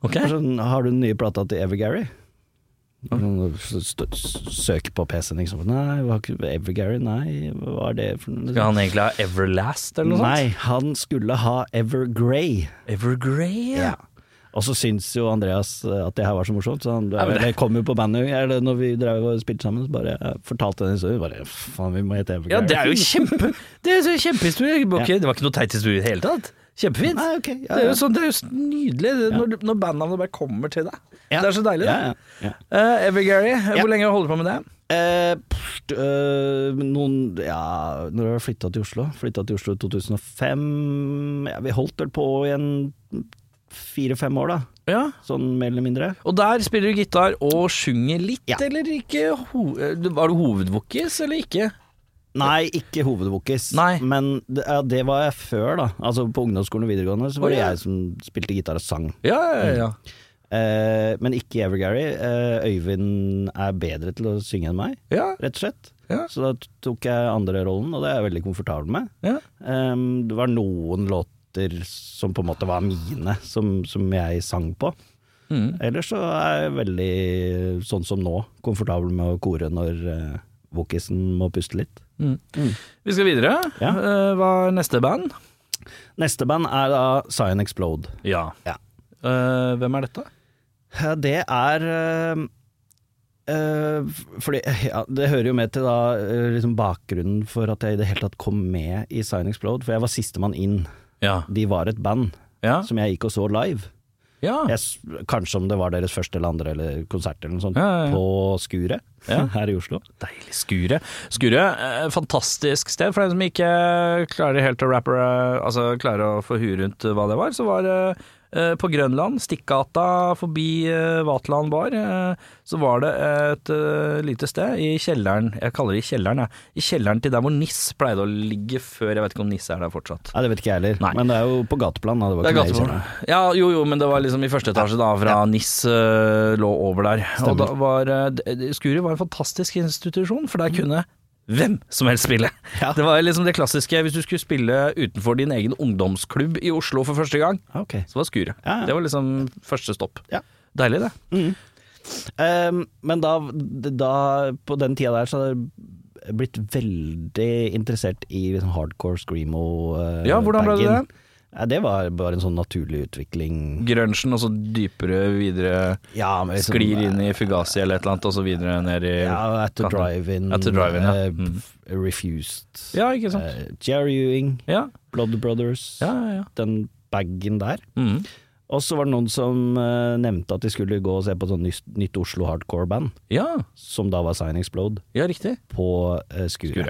B: Ok.
C: Jeg er Sånn, har du den nye plata til Evergary? Sånn, s- s- Søker på PC-en, liksom. Nei, hva, har ikke- Evergary, nei, hva er det for noe?
B: Skal han egentlig ha Everlast eller noe
C: Nei, han skulle ha Evergrey.
B: sånt? Evergrey, ja.
C: Og så syns jo Andreas eh, at det her var så morsomt, så han
B: men det-
C: det kom jo på bandet eller når vi drev og spilte sammen, så bare jeg fortalte den historien. Bare faen, vi må hete Evergrey.
B: Ja, det er jo kjempe Det er så kjempehistorie. Det var ikke, det var ikke noe teit historie i det hele tatt. Kjempefint.
C: Nei, ok, ja,
B: det, er
C: ja.
B: jo så, det er jo så nydelig det, når, når bandnavnet bare kommer til deg.
C: Ja.
B: Det er så deilig.
C: Ja,
B: det.
C: ja, ja.
B: Eh, Evergary,
C: Ja.
B: hvor lenge holder du på med det?
C: Eh, pff, øh, noen Ja, når jeg flytta til Oslo. Flytta til Oslo i 2005. Ja, vi holdt vel på i en fire-fem år, da.
B: Ja.
C: Sånn mer eller mindre.
B: Og der spiller du gitar og synger litt,
C: Ja.
B: eller ikke? Ho eh, var du hovedvokis eller ikke?
C: Nei, ikke hovedvokis,
B: Nei.
C: men det, ja, det var jeg før, da. Altså På ungdomsskolen og videregående så var
B: Å,
C: det
B: ja.
C: jeg som spilte gitar og sang.
B: Ja, ja, ja.
C: Mm. Eh, men ikke Evergary. Eh, Øyvind er bedre til å synge enn meg,
B: ja.
C: rett og slett.
B: Ja.
C: Så da tok jeg andre rollen, og det er jeg veldig komfortabel med.
B: ja.
C: Ehm, det var noen låter som på en måte var mine, som, som jeg sang på.
B: Mm.
C: Ellers så er jeg veldig, sånn som nå, komfortabel med å kore når eh, vokisen må puste litt.
B: mm. Vi skal videre.
C: Mm. Ja.
B: Eh, hva er neste band?
C: Neste band er da Cyan Explode.
B: Ja.
C: Ja.
B: Eh, hvem er dette?
C: Eh, Det er eh, eh, f- fordi, ja, Det hører jo med til da, eh, liksom bakgrunnen for at jeg i det hele tatt kom med i Cyan Explode, for jeg var sistemann inn.
B: Ja.
C: De var et band
B: Ja.
C: som jeg gikk og så live.
B: ja.
C: jeg, s- kanskje om det var deres første eller andre eller konsert eller noe sånt,
B: Ja, ja, ja.
C: på Skuret
B: Ja.
C: her i Oslo.
B: Deilig. Skuret. Skuret, eh, fantastisk sted. For den som ikke klarer helt å rappe, eh, altså klarer å få huet rundt hva det var, så var det eh, på Grønland, Stikkgata forbi eh, Vatland bar, eh, så var det et eh, lite sted i kjelleren, jeg kaller det i kjelleren, jeg. I kjelleren til der hvor Niss pleide å ligge før, jeg vet ikke om Niss er der fortsatt.
C: Nei, det vet ikke jeg heller,
B: Nei.
C: men det er jo på gateplan. Da. Det var
B: Det er
C: ikke med i
B: gatebarn.
C: kjelleren.
B: Ja, jo, jo, men det var liksom i første etasje, da, fra NIS eh, lå over der. Og da var eh, d- d- Skuri var en fantastisk institusjon, for der kunne hvem som helst spille.
C: Mm. Ja.
B: Det var liksom det klassiske hvis du skulle spille utenfor din egen ungdomsklubb i Oslo for første gang,
C: Ah, ok.
B: så var Skuret.
C: Ja, ja.
B: Det var liksom første stopp.
C: Ja.
B: Deilig, det.
C: Ehm, men da, da, på den tida der, så har jeg blitt veldig interessert i liksom hardcore screamo. eh,
B: Ja, hvordan ble det
C: bagen. Ja, det var bare en sånn naturlig utvikling.
B: Grunchen, og så dypere videre
C: Ja, men liksom- eh,
B: Sklir inn i Fugazi eller et eller annet, og så videre ned i
C: Ja, At the
B: Katten.
C: Drive-In.
B: At the Drive-In, ja.
C: eh,
B: Mm.
C: Refused.
B: Ja, ikke sant.
C: Eh, Jerry Ewing,
B: Ja,
C: Blood Brothers.
B: ja, ja. ja.
C: Den bagen der.
B: Mm.
C: Og så var det noen som eh, nevnte at de skulle gå og se på sånn nytt, nytt Oslo hardcore-band,
B: ja.
C: som da var Sign Explode,
B: ja riktig.
C: på eh, Skuret.
B: Skuret.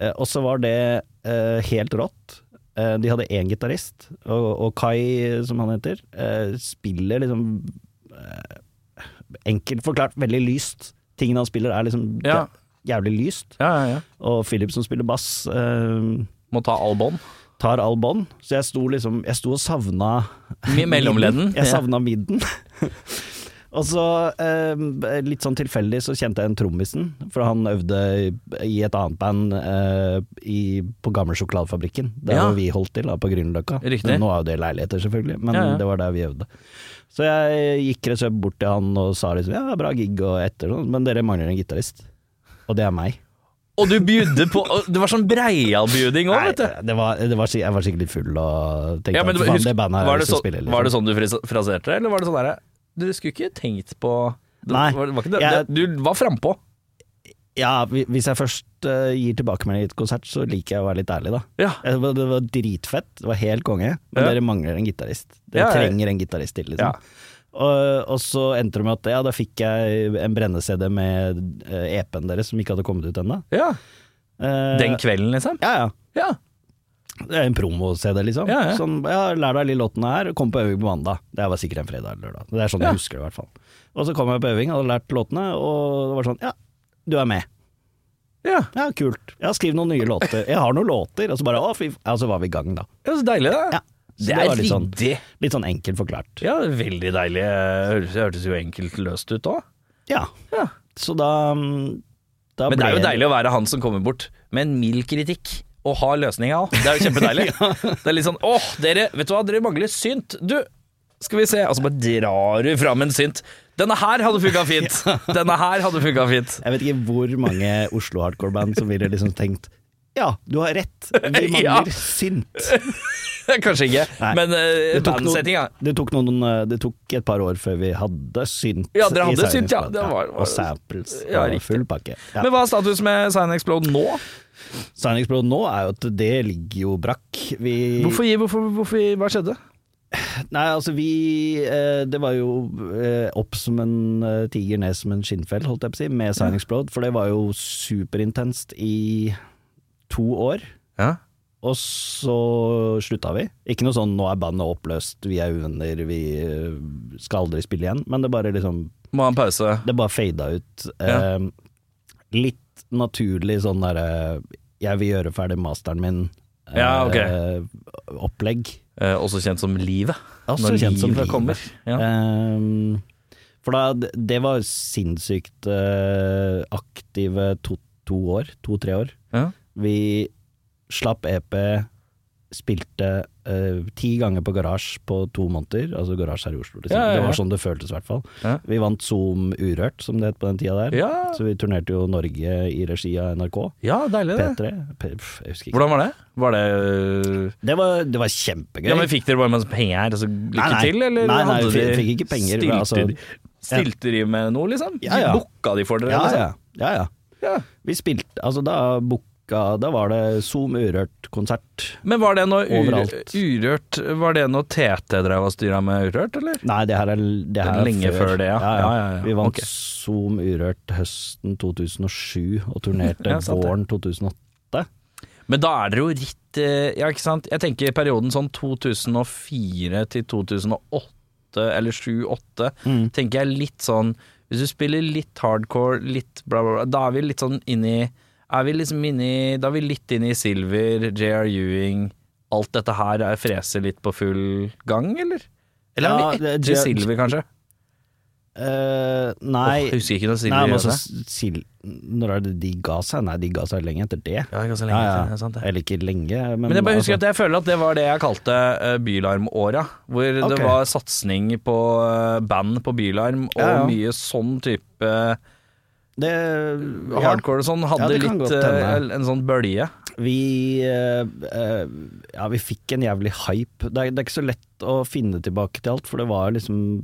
C: Eh, og så var det eh, helt rått. Eh, de hadde én gitarist, og, og Kai, som han heter, eh, spiller liksom eh, Enkelt forklart, veldig lyst. Tingene han spiller er liksom
B: Ja.
C: jæ- jævlig lyst.
B: Ja, ja, ja.
C: Og Philip som spiller bass, eh,
B: Må ta all bånd.
C: tar all bånd. Så jeg sto liksom Jeg sto og savna
B: I mellomledden.
C: midden. Jeg savna midden. Og så, eh, litt sånn tilfeldig, så kjente jeg en trommisen, for han øvde i- i et annet band eh, i, på Gamle Sjokoladefabrikken. Der
B: Ja.
C: hvor vi holdt til, da, på Grünerløkka.
B: Riktig.
C: Men Nå er jo det leiligheter, selvfølgelig, men
B: Ja, ja.
C: det var der vi øvde. Så jeg gikk rett og slett bort til han og sa liksom ja, bra gig og etter sånn, men dere mangler en gitarist. Og det er meg.
B: Og du bydde på og Det var sånn breialbuding òg,
C: Nei,
B: vet du.
C: det var, det var, sik- jeg var sikkert litt full og tenkte
B: Ja, men
C: at faen,
B: husk-
C: det bandet her
B: var, det
C: lyst til å
B: sånn-
C: spille, liksom.
B: var det sånn du fris- fraserte det, eller var det sånn derre Du skulle ikke tenkt på det,
C: Nei,
B: Var, var ikke det,
C: jeg-
B: det, du var frampå.
C: Ja, hvi- hvis jeg først eh, gir tilbakemelding i et konsert, så liker jeg å være litt ærlig, da.
B: Ja.
C: Eh, Det var, det var dritfett, det var helt konge, men
B: Ja.
C: dere mangler en gitarist. Dere
B: Ja, ja.
C: trenger en gitarist til, liksom.
B: Ja.
C: Og, og så endte det med at ja, da fikk jeg en brenne-CD med eh, EP-en deres som ikke hadde kommet ut ennå.
B: ja.
C: Eh,
B: Den kvelden, liksom?
C: Ja, ja.
B: Ja.
C: Det er En promo-CD, liksom.
B: Ja, ja.
C: Sånn, ja, lær deg litt låtene her, kom på øving på mandag. Det her var sikkert en fredag eller lørdag. Det er sånn
B: Ja.
C: jeg husker det, i hvert fall. Og så kom jeg på øving, hadde lært låtene, og det var sånn, ja, du er med.
B: ja.
C: Ja, kult. Jeg har skrevet noen nye låter. Jeg har noen låter, og så bare å, fy f- Ja, så var vi i gang, da.
B: Ja, Så deilig, da.
C: Ja. Så
B: Det er
C: var litt sånn,
B: ryddig.
C: litt sånn enkelt forklart.
B: Ja, veldig deilig. Det hørtes, det hørtes jo enkelt løst ut òg.
C: Ja.
B: Ja.
C: Så da, mm, da
B: Men det er jo
C: ble-
B: deilig å være han som kommer bort med en mild kritikk. Og ha løsninga òg. Det er jo kjempedeilig. Det er litt sånn åh, dere, vet du hva, dere mangler synt. Du, skal vi se. Og så bare drar du fram en synt. Denne her hadde funka fint. Denne her hadde funka fint.
C: Jeg vet ikke hvor mange Oslo hardcore-band som ville liksom tenkt Ja, du har rett. Vi mangler
B: Ja.
C: synt.
B: Kanskje ikke,
C: Nei.
B: men uh,
C: Det tok noen-
B: bandsettinga.
C: Det tok, noen, eh, det tok et par år før vi hadde synt.
B: Ja, dere
C: i
B: hadde synt,
C: Silent
B: ja.
C: Blood,
B: Det var- var-
C: og samples
B: Ja,
C: og
B: riktig.
C: full pakke. Ja.
B: Men hva er status med Sign Explode nå?
C: Sign Explode nå er jo at det ligger jo brakk. musikk. Vi
B: Hvorfor, gi- hvorfor, hvorfor gi- Hva skjedde?
C: Nei, altså vi eh, Det var jo eh, opp som en eh, tiger, ned som en skinnfell, holdt jeg på å si, med Sign Explode. For det var jo superintenst i to år.
B: Ja.
C: Og så slutta vi. Ikke noe sånn 'nå er bandet oppløst, vi er uvenner, vi eh, skal aldri spille igjen'. Men det bare liksom
B: Må ha en pause.
C: Det bare fada ut.
B: Ja.
C: Eh, litt naturlig sånn derre 'jeg vil gjøre ferdig masteren min'. eh,
B: Ja, ok.
C: Opplegg.
B: Eh, også kjent som Livet.
C: Også kjent som Livet.
B: kommer. Ja.
C: Ehm, for da, det- det var sinnssykt eh, aktive to, to år, to-tre år.
B: Ja.
C: Vi slapp EP, spilte eh, ti ganger på garasje på to måneder. Altså garasje her i Oslo, liksom.
B: Ja, ja, ja.
C: Det var sånn det føltes i hvert fall.
B: Ja.
C: Vi vant Zoom Urørt, som det het på den tida der.
B: Ja.
C: Så vi turnerte jo Norge i regi av NRK.
B: ja, deilig det.
C: P3. P, pff, jeg husker ikke.
B: Hvordan var det? Var det øh,
C: Det var, det var kjempegøy.
B: Ja, men Fikk dere bare masse penger? Altså, lykke
C: Nei, nei.
B: til, eller?
C: Nei, nei,
B: hadde
C: vi
B: dere-
C: fikk ikke penger, men
B: Stilte,
C: altså-
B: de- stilte de med noe, liksom?
C: Ja, ja.
B: Booka de for dere?
C: ja,
B: liksom?
C: ja, ja, ja.
B: Ja.
C: Vi spilte, altså da booka, da var det Zoom Urørt-konsert.
B: Men var det noe ur,
C: Overalt.
B: urørt Var det noe TT drev og styra med urørt, eller?
C: Nei, det her er, det her er
B: Lenge før det, ja.
C: Ja, ja.
B: Ja, ja, ja.
C: Vi vant
B: Ok.
C: Zoom Urørt høsten 2007 og turnerte
B: Ja, sant det.
C: våren 2008.
B: Men da er dere jo ritt eh, Ja, ikke sant? Jeg tenker perioden sånn 2004 til 2008 eller 2008
C: Mm.
B: tenker jeg litt sånn Hvis du spiller litt hardcore, litt bla, bla, bla, da er vi litt sånn inni Er vi liksom inni Da er vi litt inni Silver, JR Ewing Alt dette her er freser litt på full gang, eller? Eller
C: Ja,
B: er vi
C: det-
B: etter
C: J.R.
B: Silver, kanskje?
C: Eh,
B: Åh,
C: nei,
B: jeg husker ikke når
C: nei
B: Silver gjør
C: men også
B: det.
C: Sil- Når er det de ga seg? Nei, de ga seg lenge etter det.
B: Ja, det er ganske lenge
C: Ja, ja.
B: siden, det er sant det.
C: Eller ikke lenge, men,
B: Men jeg bare husker
C: altså-
B: at jeg føler at det var det jeg kalte eh, Bylarm-åra. Hvor det
C: Ok.
B: var satsing på eh, band på Bylarm, og
C: Ja, ja.
B: mye sånn type
C: det, ja.
B: hardcore og sånn.
C: Ja,
B: Hadde
C: det kan
B: litt
C: godt hende.
B: eh, en sånn bølge.
C: Vi eh, eh, Ja, vi fikk en jævlig hype. Det er, det er ikke så lett å finne tilbake til alt, for det var liksom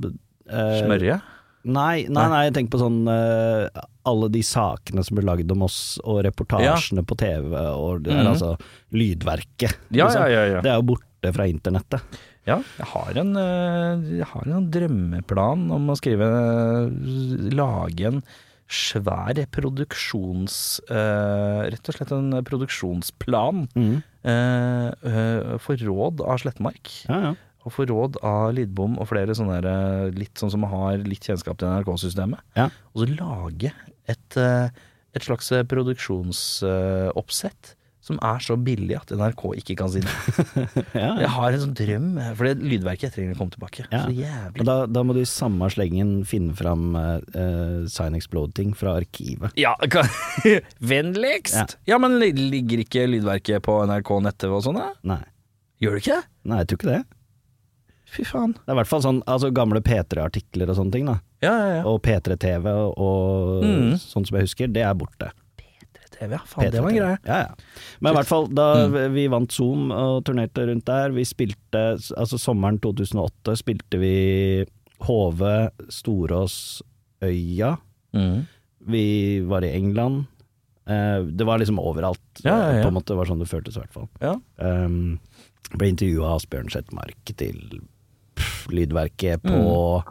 C: eh,
B: Smørje.
C: Nei, nei, nei, jeg tenker på sånn eh, Alle de sakene som ble lagd om oss, og reportasjene på TV, og det der,
B: Mhm.
C: altså lydverket.
B: Ja, ja,
C: liksom.
B: ja. ja.
C: Det er jo borte fra internettet.
B: ja jeg, har en, eh, jeg har en drømmeplan om å skrive eh, Lage en svær produksjons... eh, rett og slett en produksjonsplan
C: Mm.
B: eh, eh, for råd av Slettmark.
C: Ja, ja.
B: Og få råd av Lidbom og flere sånne der, eh, litt sånn som har litt kjennskap til NRK-systemet.
C: Ja.
B: Og så lage et, eh, et slags produksjonsoppsett som er så billig at NRK ikke kan si nei.
C: ja,
B: Jeg har en sånn drøm, eh, for det lydverket trenger å komme tilbake.
C: Ja.
B: Så
C: Men
B: jævlig.
C: Da, da må du i samme slengen finne fram eh, eh, Sign Explode-ting fra arkivet.
B: Ja, kan, vennligst! Ja. men li- ligger ikke lydverket på NRK nettet og sånn, da?
C: Nei.
B: Gjør det ikke det?
C: Nei, jeg tror ikke det.
B: Fy faen.
C: Det er i hvert fall sånn altså, gamle P3-artikler og sånne ting, da.
B: Ja, ja, ja.
C: Og P3-TV og
B: Mm.
C: sånn som jeg husker, det er borte.
B: TV, ja. Faen, det var en
C: P3
B: greie. Mm.
C: TV. Ja, ja. Men i hvert fall, da vi vant Zoom og turnerte rundt der, vi spilte Altså sommeren 2008 spilte vi Hove, Storås, Øya.
B: Mm.
C: Vi var i England. Eh, Det var liksom overalt,
B: Ja, ja, ja.
C: på en måte. Det var sånn det føltes, i hvert fall.
B: Ja.
C: Um, ble intervjua av Asbjørn Sjetmark til pff, lydverket på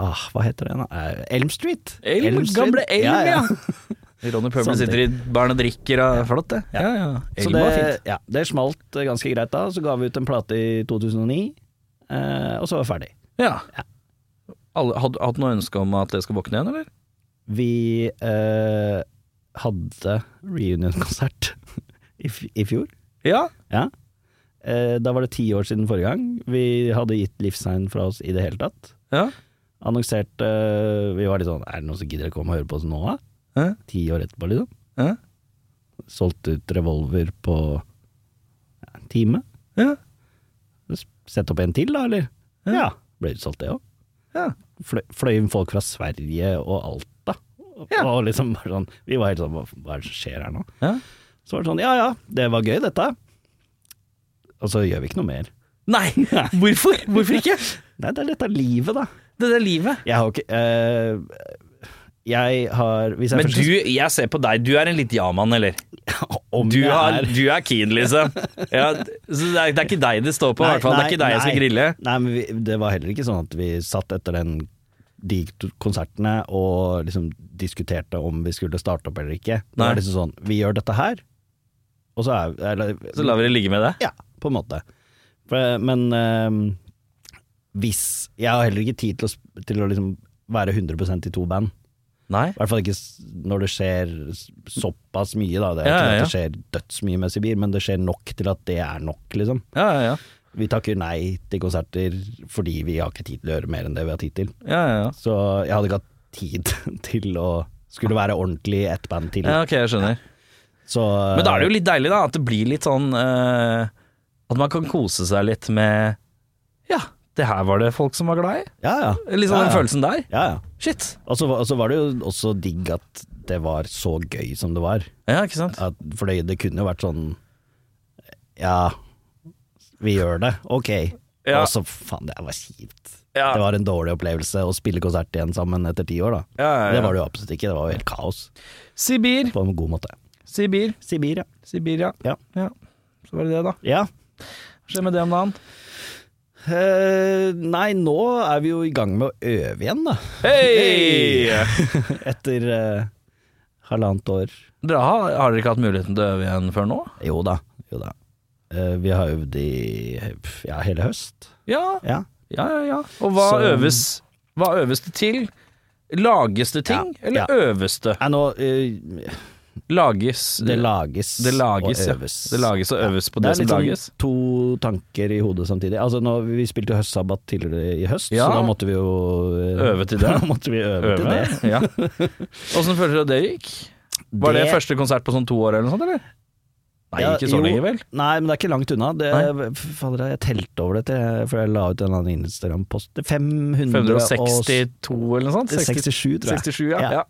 C: ah, Hva heter det, da? Eh, Elm Street.
B: Elm, gamle Elm, ja. Ronny
C: Sånne
B: Pøbel sitter i baren og drikker, og flott det. Ja, ja.
C: Så
B: Elm
C: det,
B: var fint.
C: ja, det smalt eh, ganske greit da. Så ga vi ut en plate i 2009, eh, og så var vi ferdig.
B: Ja. Alle, hadde hatt noe ønske om at det skal våkne igjen, eller?
C: Vi eh, hadde reunion-konsert i, f- i fjor.
B: Ja.
C: Ja. Eh, da var det ti år siden forrige gang. Vi hadde gitt livstegn fra oss i det hele tatt.
B: ja.
C: Annonserte eh, Vi var litt sånn Er det noen som gidder å komme og høre på oss nå, da?
B: Hæ?
C: Ti år etterpå, liksom.
B: Ja.
C: Solgt ut revolver på ja, en time.
B: Ja.
C: Sett opp en til, da, eller?
B: Ja.
C: Ble utsolgt, det òg.
B: Ja.
C: Fløy, fløy inn folk fra Sverige og Alta.
B: Ja.
C: Og liksom bare sånn Vi var helt sånn Hva hva er det som skjer her nå?
B: ja.
C: Så var det sånn Ja ja, det var gøy, dette. Og så gjør vi ikke noe mer.
B: Nei! Hvorfor? Hvorfor ikke?
C: Nei, det er dette livet, da.
B: Det der livet.
C: Jeg har ikke eh, jeg har hvis jeg
B: Men
C: først-
B: du, jeg ser på deg, du er en litt ja-mann, eller?
C: Om
B: Du,
C: jeg
B: har,
C: er-
B: du er keen, liksom. Ja, så det er, det er ikke deg det står på, i
C: Nei,
B: hvert fall. Det er ikke deg jeg
C: nei.
B: skal grille.
C: Nei, men vi, det var heller ikke sånn at vi satt etter den, de to konsertene og liksom diskuterte om vi skulle starte opp eller ikke. Det
B: Nei.
C: var liksom sånn, vi gjør dette her, og så er eller,
B: Så lar vi det ligge med det.
C: Ja, på en måte. For, men ehm, hvis Jeg har heller ikke tid til å, sp- til å liksom være 100 i to band.
B: Nei.
C: I hvert fall ikke s- når det skjer s- såpass mye, da. Det er
B: Ja,
C: ikke
B: ja,
C: at det skjer dødsmye med Sibir, men det skjer nok til at det er nok, liksom.
B: Ja, ja, ja.
C: Vi takker nei til konserter fordi vi har ikke tid til å gjøre mer enn det vi har tid til.
B: ja, ja, ja.
C: Så jeg hadde ikke hatt tid til å skulle være ordentlig ett band til.
B: ja ok, jeg skjønner.
C: Så,
B: Men da er det jo litt deilig, da, at det blir litt sånn eh, At man kan kose seg litt med Ja, det her var det folk som var glad i.
C: ja, ja.
B: Litt sånn
C: ja,
B: den
C: ja.
B: følelsen der.
C: Ja, ja.
B: Shit.
C: Og så var- og så var det jo også digg at det var så gøy som det var.
B: Ja, ikke sant.
C: At, for det, det kunne jo vært sånn Ja, vi gjør det. Ok.
B: Ja.
C: Og så faen, det var kjipt.
B: Ja.
C: Det var en dårlig opplevelse å spille konsert igjen sammen etter ti år, da.
B: Ja, ja, ja.
C: Det var det jo absolutt ikke. Det var jo helt kaos.
B: Sibir.
C: På en god måte.
B: Sibir.
C: Sibir, ja.
B: Sibir, ja.
C: Ja.
B: Så var det det, da.
C: Ja.
B: Hva skjer med det om dagen?
C: Eh, nei, nå er vi jo i gang med å øve igjen, da.
B: Hei!
C: Etter eh, halvannet år.
B: Dere har, har dere ikke hatt muligheten til å øve igjen før nå?
C: Jo da, jo da. Eh, vi har øvd i pff, ja, hele høst.
B: Ja,
C: Ja.
B: ja, ja. ja. Og hva
C: Så-
B: øves? Hva øves det til? Lages det ting,
C: Ja,
B: eller
C: ja.
B: øves det?
C: Nei, nå eh,
B: Lages
C: Det lages,
B: Det lages,
C: og
B: ja.
C: øves.
B: Det lages og øves på
C: Det
B: det,
C: er
B: som
C: litt sånn
B: lages.
C: to tanker i hodet samtidig. Altså, nå, vi spilte jo høstsabbat tidligere i høst,
B: Ja.
C: så da måtte vi jo eh,
B: Øve til det.
C: Da måtte vi øve, til
B: Øve.
C: det.
B: Ja. Åssen føler dere at det gikk? Var det, første konsert på sånn to år eller noe sånt, eller? Nei,
C: Ja,
B: ikke så
C: jo.
B: lenge, vel?
C: Nei, men det er ikke langt unna. Det,
B: Nei.
C: f- fader, jeg telte over det til, for jeg la ut en eller annen Instagram-post. Det er 500 og
B: 562 eller noe sånt? 60,
C: 67, tror jeg.
B: 67, ja.
C: Ja.
B: ja.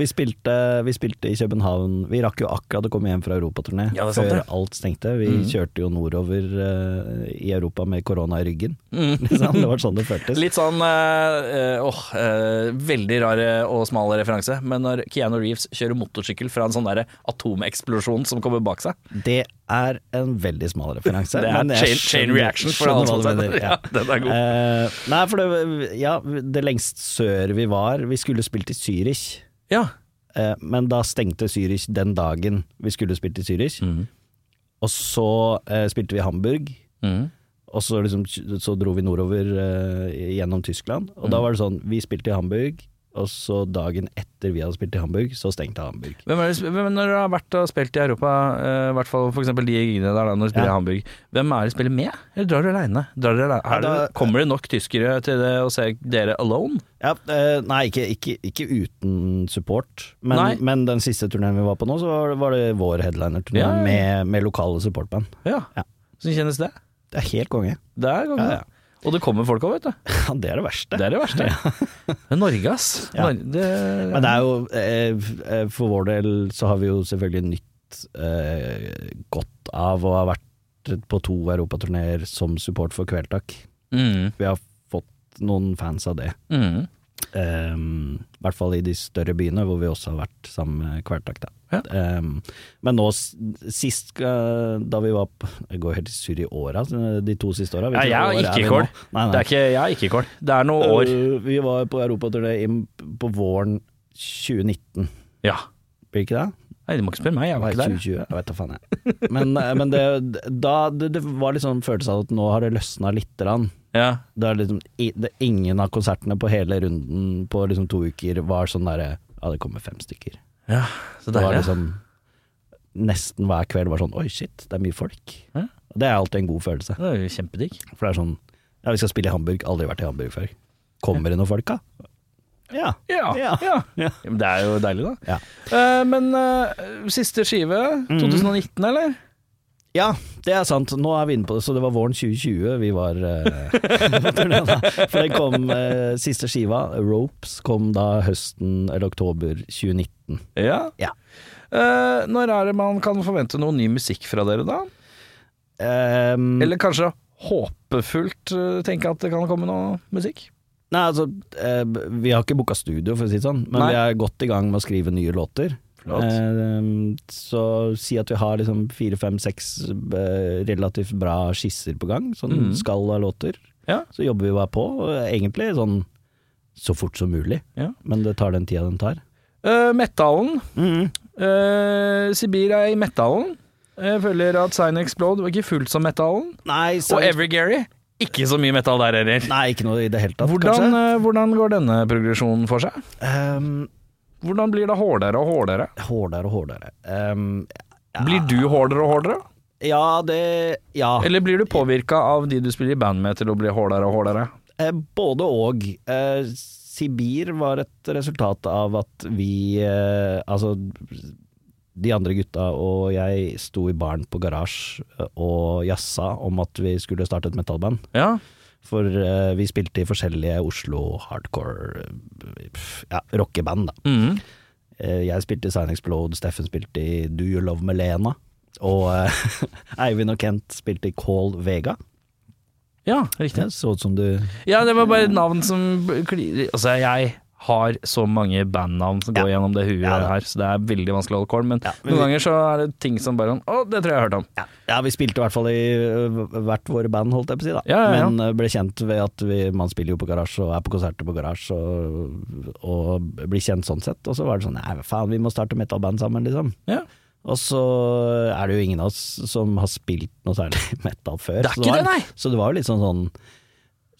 C: Vi spilte, vi spilte i København. Vi rakk jo akkurat å komme hjem fra europaturné
B: Ja, det er sant,
C: før
B: det. Mm.
C: alt stengte. Vi kjørte jo nordover eh, i Europa med korona i ryggen.
B: Mm.
C: Liksom. Det var sånn det føltes.
B: Litt sånn eh, eh, åh, eh, veldig rar eh, og smal referanse, men når Keanu Reeves kjører motorsykkel fra en sånn der atomeksplosjon som kommer bak seg
C: Det er en veldig smal referanse.
B: Det er
C: men jeg
B: chain, chain
C: skjønner-
B: reaction. For
C: skjønner
B: alle
C: hva
B: som
C: du
B: mener.
C: mener,
B: Ja,
C: ja.
B: den er god.
C: Eh, nei, for det, ja, det lengst sør vi var Vi skulle spilt i Zürich.
B: Ja.
C: Eh, men da stengte Zürich den dagen vi skulle spilt i Zürich.
B: Mm.
C: Og så eh, spilte vi i Hamburg,
B: Mm.
C: og så, liksom, så dro vi nordover eh, gjennom Tyskland. Og
B: Mm.
C: da var det sånn, vi spilte i Hamburg, og så dagen etter vi hadde spilt i Hamburg, så stengte Hamburg.
B: Hvem er det, hvem, når du har vært og spilt i Europa, eh, i hvert fall for eksempel de gigene der da, når du spiller
C: Ja.
B: i Hamburg, hvem er det du spiller med, eller drar du aleine?
C: da-
B: Kommer det nok tyskere til det å se dere alone?
C: Ja, eh, nei, ikke, ikke, ikke uten support,
B: Nei.
C: men, men den siste turneen vi var på nå, så var det, var det vår headliner-turné
B: Ja, ja.
C: med, med lokale supportband.
B: Ja.
C: Ja.
B: Hvordan kjennes det?
C: Det er helt konge.
B: Det er gangen.
C: Ja, ja.
B: Og det kommer folk òg, vet du.
C: Ja, det er det verste.
B: Det er det verste. Det er Norge, ass.
C: Ja.
B: Nor det,
C: Men det er jo, eh, f- eh, for vår del så har vi jo selvfølgelig nytt eh, godt av å ha vært på to europaturneer som support for Kveldtak.
B: Mm,
C: Vi har fått noen fans av det.
B: mm.
C: Ehm, I hvert fall i de større byene hvor vi også har vært sammen med Kveldtak. Da.
B: Ja.
C: Ehm, men nå s- sist eh, da vi var på Jeg går helt i surr i åra, de to siste åra.
B: Ja, jeg har ikke kål. Det er ikke, jeg har ikke kål. Det er noe år.
C: Uh, vi var på europaturné i- på våren 2019,
B: Ja.
C: blir det ikke det?
B: Nei, du må ikke spørre meg, jeg var ikke der.
C: 2020, jeg vet da faen jeg. Men, eh, men det, da, det, det var liksom følelsen av at nå har det løsna litt.
B: Ja.
C: Det er liksom, i- det, ingen av konsertene på hele runden på liksom to uker var sånn derre Ja, det kommer fem stykker.
B: ja. Så
C: Det var
B: deilig.
C: liksom Nesten hver kveld var sånn Oi, shit, det er mye folk.
B: Ja.
C: Og Det er alltid en god følelse.
B: Det er jo kjempedigg.
C: For det er sånn Ja, vi skal spille i Hamburg. Aldri vært i Hamburg før. Kommer det noen folk, da? Ja.
B: Ja.
C: Ja.
B: ja.
C: Ja.
B: Men Det er jo deilig, da.
C: Ja. Mhm.
B: Eh, men eh, siste skive, 2019, eller?
C: Ja, det er sant. Nå er vi inne på det. Så det var våren 2020 vi var eh, på turné, da. For det kom eh, siste skiva, Ropes, kom da høsten eller oktober 2019.
B: Ja.
C: Ja.
B: Eh, når er det man kan forvente noe ny musikk fra dere, da?
C: Ehm, Mhm.
B: Eller kanskje håpefullt eh, tenke at det kan komme noe musikk?
C: Nei, altså, eh, vi har ikke booka studio, for å si det sånn, men
B: Nei.
C: vi er godt i gang med å skrive nye låter.
B: Flott.
C: Eh, så si at vi har liksom fire, fem, seks eh, relativt bra skisser på gang, sånn
B: Mhm.
C: skall av låter.
B: Ja.
C: Så jobber vi bare på, og egentlig sånn så fort som mulig,
B: Ja.
C: men det tar den tida den tar.
B: Eh, Metalen. Eh, Sibir er i metalen. Jeg føler at Sign Explode var ikke fullt som metalen.
C: Nei, så,
B: Og Evergary, ikke så mye metal der heller.
C: nei, ikke noe i det hele tatt,
B: Hvordan,
C: kanskje.
B: eh, hvordan går denne progresjonen for seg?
C: Um,
B: Hvordan blir det hårdere og hårdere?
C: hårdere og hårdere. Um,
B: Blir du hårdere og hårdere?
C: ja, det Ja.
B: Eller blir du påvirka av de du spiller i band med til å bli hårdere og hårdere?
C: Eh, både og. Eh, Sibir var et resultat av at vi eh, Altså, de andre gutta og jeg sto i baren på Garasje eh, og jazza om at vi skulle starte et metalband.
B: Ja.
C: For eh, vi spilte i forskjellige Oslo hardcore eh, pff, ja, rockeband, da.
B: Mhm.
C: Eh, jeg spilte i Sign Explode, Steffen spilte i Do You Love Melena. Og eh, Eivind og Kent spilte i Call Vega.
B: ja, riktig.
C: Det så ut som du
B: Ja, det var bare et navn som kli- Altså, jeg har så mange bandnavn som går
C: Ja.
B: gjennom det huet
C: Ja, da.
B: her, så det er veldig vanskelig å holde kål, men,
C: men
B: noen
C: vi-
B: ganger så er det ting som bare sånn Å, det tror jeg jeg har hørt om.
C: Ja, ja vi spilte i hvert fall i ø, hvert våre band, holdt jeg på å si, da.
B: Ja, ja, ja.
C: Men ø, ble kjent ved at vi, man spiller jo på garasje og er på konserter på garasje, og, og blir kjent sånn sett. Og så var det sånn nei, faen, vi må starte metalband sammen, liksom.
B: Ja.
C: Og så er det jo ingen av oss som har spilt noe særlig metal før.
B: Det er
C: så
B: ikke
C: var,
B: det, nei.
C: Så det var jo litt sånn sånn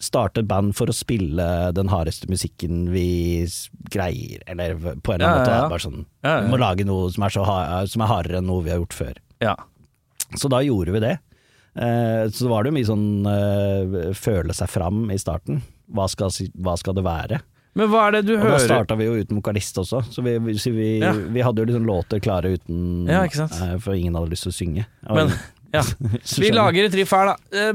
C: Starte et band for å spille den hardeste musikken vi s- greier, eller på en eller
B: Ja, ja,
C: annen måte. da.
B: ja.
C: Bare sånn,
B: Ja, ja.
C: Vi må lage noe som er, så hard, som er hardere enn noe vi har gjort før.
B: Ja.
C: Så da gjorde vi det. Eh, så var det jo mye sånn eh, føle seg fram i starten. Hva skal, si- hva skal det være?
B: Men hva er det du
C: Og da
B: hører
C: starta vi jo uten vokalist også, så vi, vi- så vi,
B: Ja.
C: vi hadde jo liksom låter klare uten
B: Ja, ikke sant?
C: eh, For ingen hadde lyst til å synge. Og-
B: Men ja.
C: så
B: Vi
C: skjønner-
B: lager et riff her, da. Eh,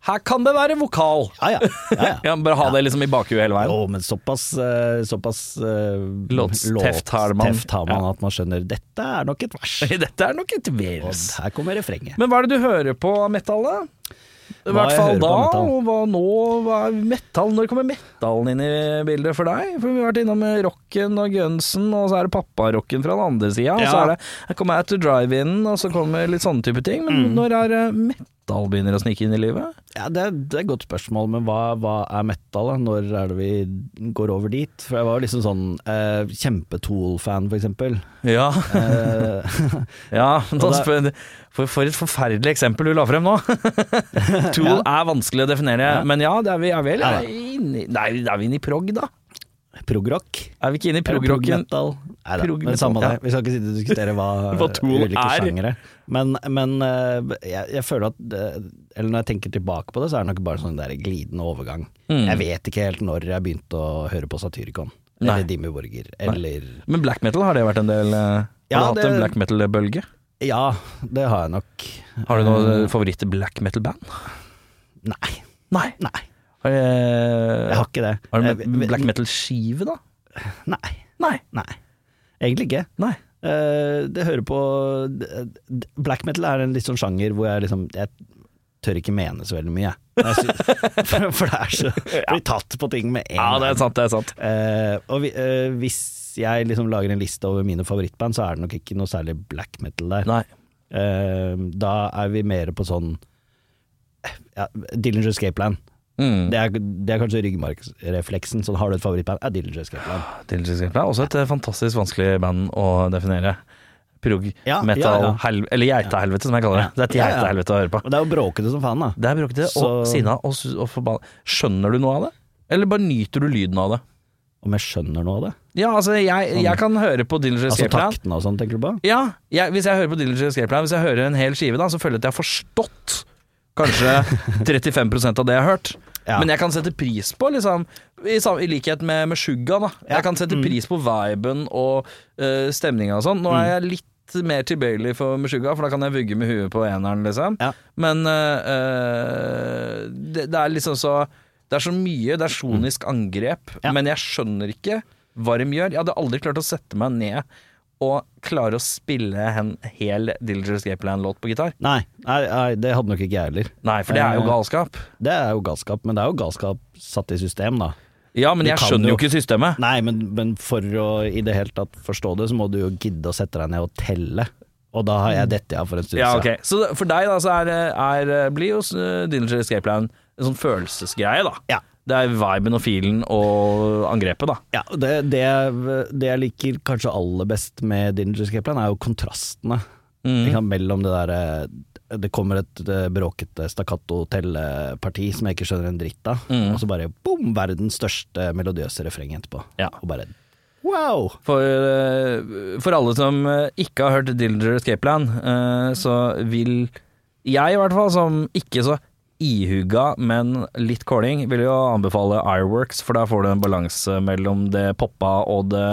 B: her kan det være vokal.
C: Ja, ja. ja, ja.
B: Ja, Bare ha det liksom i bakhuet hele veien.
C: Jo, men såpass, eh, såpass eh,
B: Låtsteft har man.
C: låtsteft har man
B: Ja.
C: at man skjønner dette er nok et vers.
B: Dette er nok et
C: Og
B: virus.
C: her kommer refrenget.
B: Men hva er det du hører på av metal, da? I
C: Hva
B: hvert
C: jeg
B: fall
C: hører på
B: da,
C: av metal?
B: og hva nå? Hva er metal? Når kommer metallen inn i bildet for deg? For vi har vært innom rocken og gunsen, og så er det papparocken fra den andre sida. Og så
C: Ja.
B: er det her kommer jeg til drive-in, og så kommer litt sånne type ting. Men når er det metal begynner å snike inn i livet?
C: Ja, det, er, det er et godt spørsmål, men hva, hva er metal? da? Når er det vi går over dit? For jeg var liksom sånn eh, kjempetool-fan, for eksempel.
B: Ja,
C: Eh,
B: ja da
C: Og
B: spør, for, for et forferdelig eksempel du la frem nå. Tool er vanskelig å definere, men ja, det er vi er vel
C: Ja, da.
B: inne i Nei, da er vi inne i prog, da?
C: Prog-rock.
B: Er vi ikke inne i
C: Eller
B: prog-rocken?
C: Prog-metal. Nei da,
B: Prog-metal,
C: men samme det.
B: ja.
C: Vi skal ikke sitte og diskutere hva,
B: Hva tool
C: ulike
B: er.
C: sjangere. Men, men eh, jeg, jeg føler at eh, Eller når jeg tenker tilbake på det, så er det nok bare sånn der glidende overgang.
B: Mm.
C: Jeg vet ikke helt når jeg begynte å høre på Satyricon.
B: Nei.
C: Eller Dimmy Borger. Eller
B: Men black metal, har det vært en del eh, Har
C: Ja,
B: du hatt
C: det-
B: en black metal-bølge?
C: Ja, det har jeg nok.
B: Har du noen eh, favoritt-black metal-band?
C: Nei.
B: Nei.
C: Nei,
B: Har, eh,
C: jeg har ikke det.
B: har du
C: Jeg-
B: en black metal-skive, da?
C: Nei.
B: Nei.
C: Nei, egentlig ikke.
B: Nei.
C: Eh, det hører på d- d- Black metal er en litt sånn sjanger hvor jeg liksom Jeg tør ikke mene så veldig mye, jeg. jeg. sy- for, for det er så Blir tatt på ting med en
B: Ja, det er sant, det er sant.
C: Eh, og vi, eh, hvis jeg liksom lager en liste over mine favorittband, så er det nok ikke noe særlig black metal der.
B: Nei.
C: Eh, da er vi mer på sånn ja, Dillinger Escape Plan.
B: Mm.
C: Det er, det er kanskje ryggmargsrefleksen. Sånn, har du et favorittband? Er Dillinger Escape Plan.
B: Dillinger Escape Plan er også et eh, fantastisk vanskelig band å definere. Prog,
C: Ja,
B: metal,
C: ja, ja.
B: helv- eller geitehelvete, som jeg kaller det. Det er et
C: Ja, ja.
B: geitehelvete å høre på.
C: Og det er jo bråkete som faen, da.
B: Det er bråkete og
C: Så-
B: sinna og, su- og forbanna. Skjønner du noe av det? Eller bare nyter du lyden av det?
C: Om jeg skjønner noe av det?
B: Ja, altså, jeg, jeg kan høre på Dillinger
C: Altså
B: Escape Plan.
C: taktene og sånn, tenker du på?
B: Ja, jeg, hvis jeg hører på Dillinger Escape Plan, hvis jeg hører en hel skive, da, så føler jeg at jeg har forstått kanskje 35 av det jeg har hørt.
C: Ja.
B: Men jeg kan sette pris på, liksom, i, sam- i likhet med, med Suga, da. Jeg kan sette pris på viben og uh, stemninga og sånn. Nå er jeg litt mer tilbøyelig for Meshuggah, for da kan jeg vugge med huet på eneren, liksom.
C: Ja.
B: Men øh, øh, det, det er liksom så Det er så mye, det er sonisk angrep,
C: Mm. Ja.
B: men jeg skjønner ikke hva de gjør. Jeg hadde aldri klart å sette meg ned og klare å spille en hel Dillinger Escape Plan-låt på gitar.
C: Nei, nei, nei, det hadde nok ikke jeg heller.
B: Nei, for det er jo
C: Eh,
B: galskap.
C: Det er jo galskap, men det er jo galskap satt i system, da.
B: Ja, men
C: Du
B: jeg
C: kan
B: skjønner jo
C: jo-
B: ikke systemet.
C: Nei, men, men for å i det hele tatt forstå det, så må du jo gidde å sette deg ned og telle. Og da har jeg dette av for en stund
B: Ja, ok.
C: siden.
B: Så det- for deg da, så er, er, blir jo eh, Dillinger Escape Plan en sånn følelsesgreie, da.
C: Ja.
B: Det er viben og feelen og angrepet, da.
C: Ja, det, det, det jeg liker kanskje aller best med Dinger Escape Plan, er jo kontrastene.
B: Mhm.
C: Ikke sant, mellom det derre Det kommer et eh, bråkete stakkato-telleparti som jeg ikke skjønner en dritt av,
B: Mhm.
C: og så bare boom, verdens største melodiøse refreng etterpå.
B: Ja.
C: Og bare wow!
B: For, eh, for alle som eh, ikke har hørt Dillinger Escape Plan, eh, så vil jeg i hvert fall, som ikke så ihuga, men litt calling, vil jo anbefale Ireworks, for der får du en balanse mellom det poppa og, det,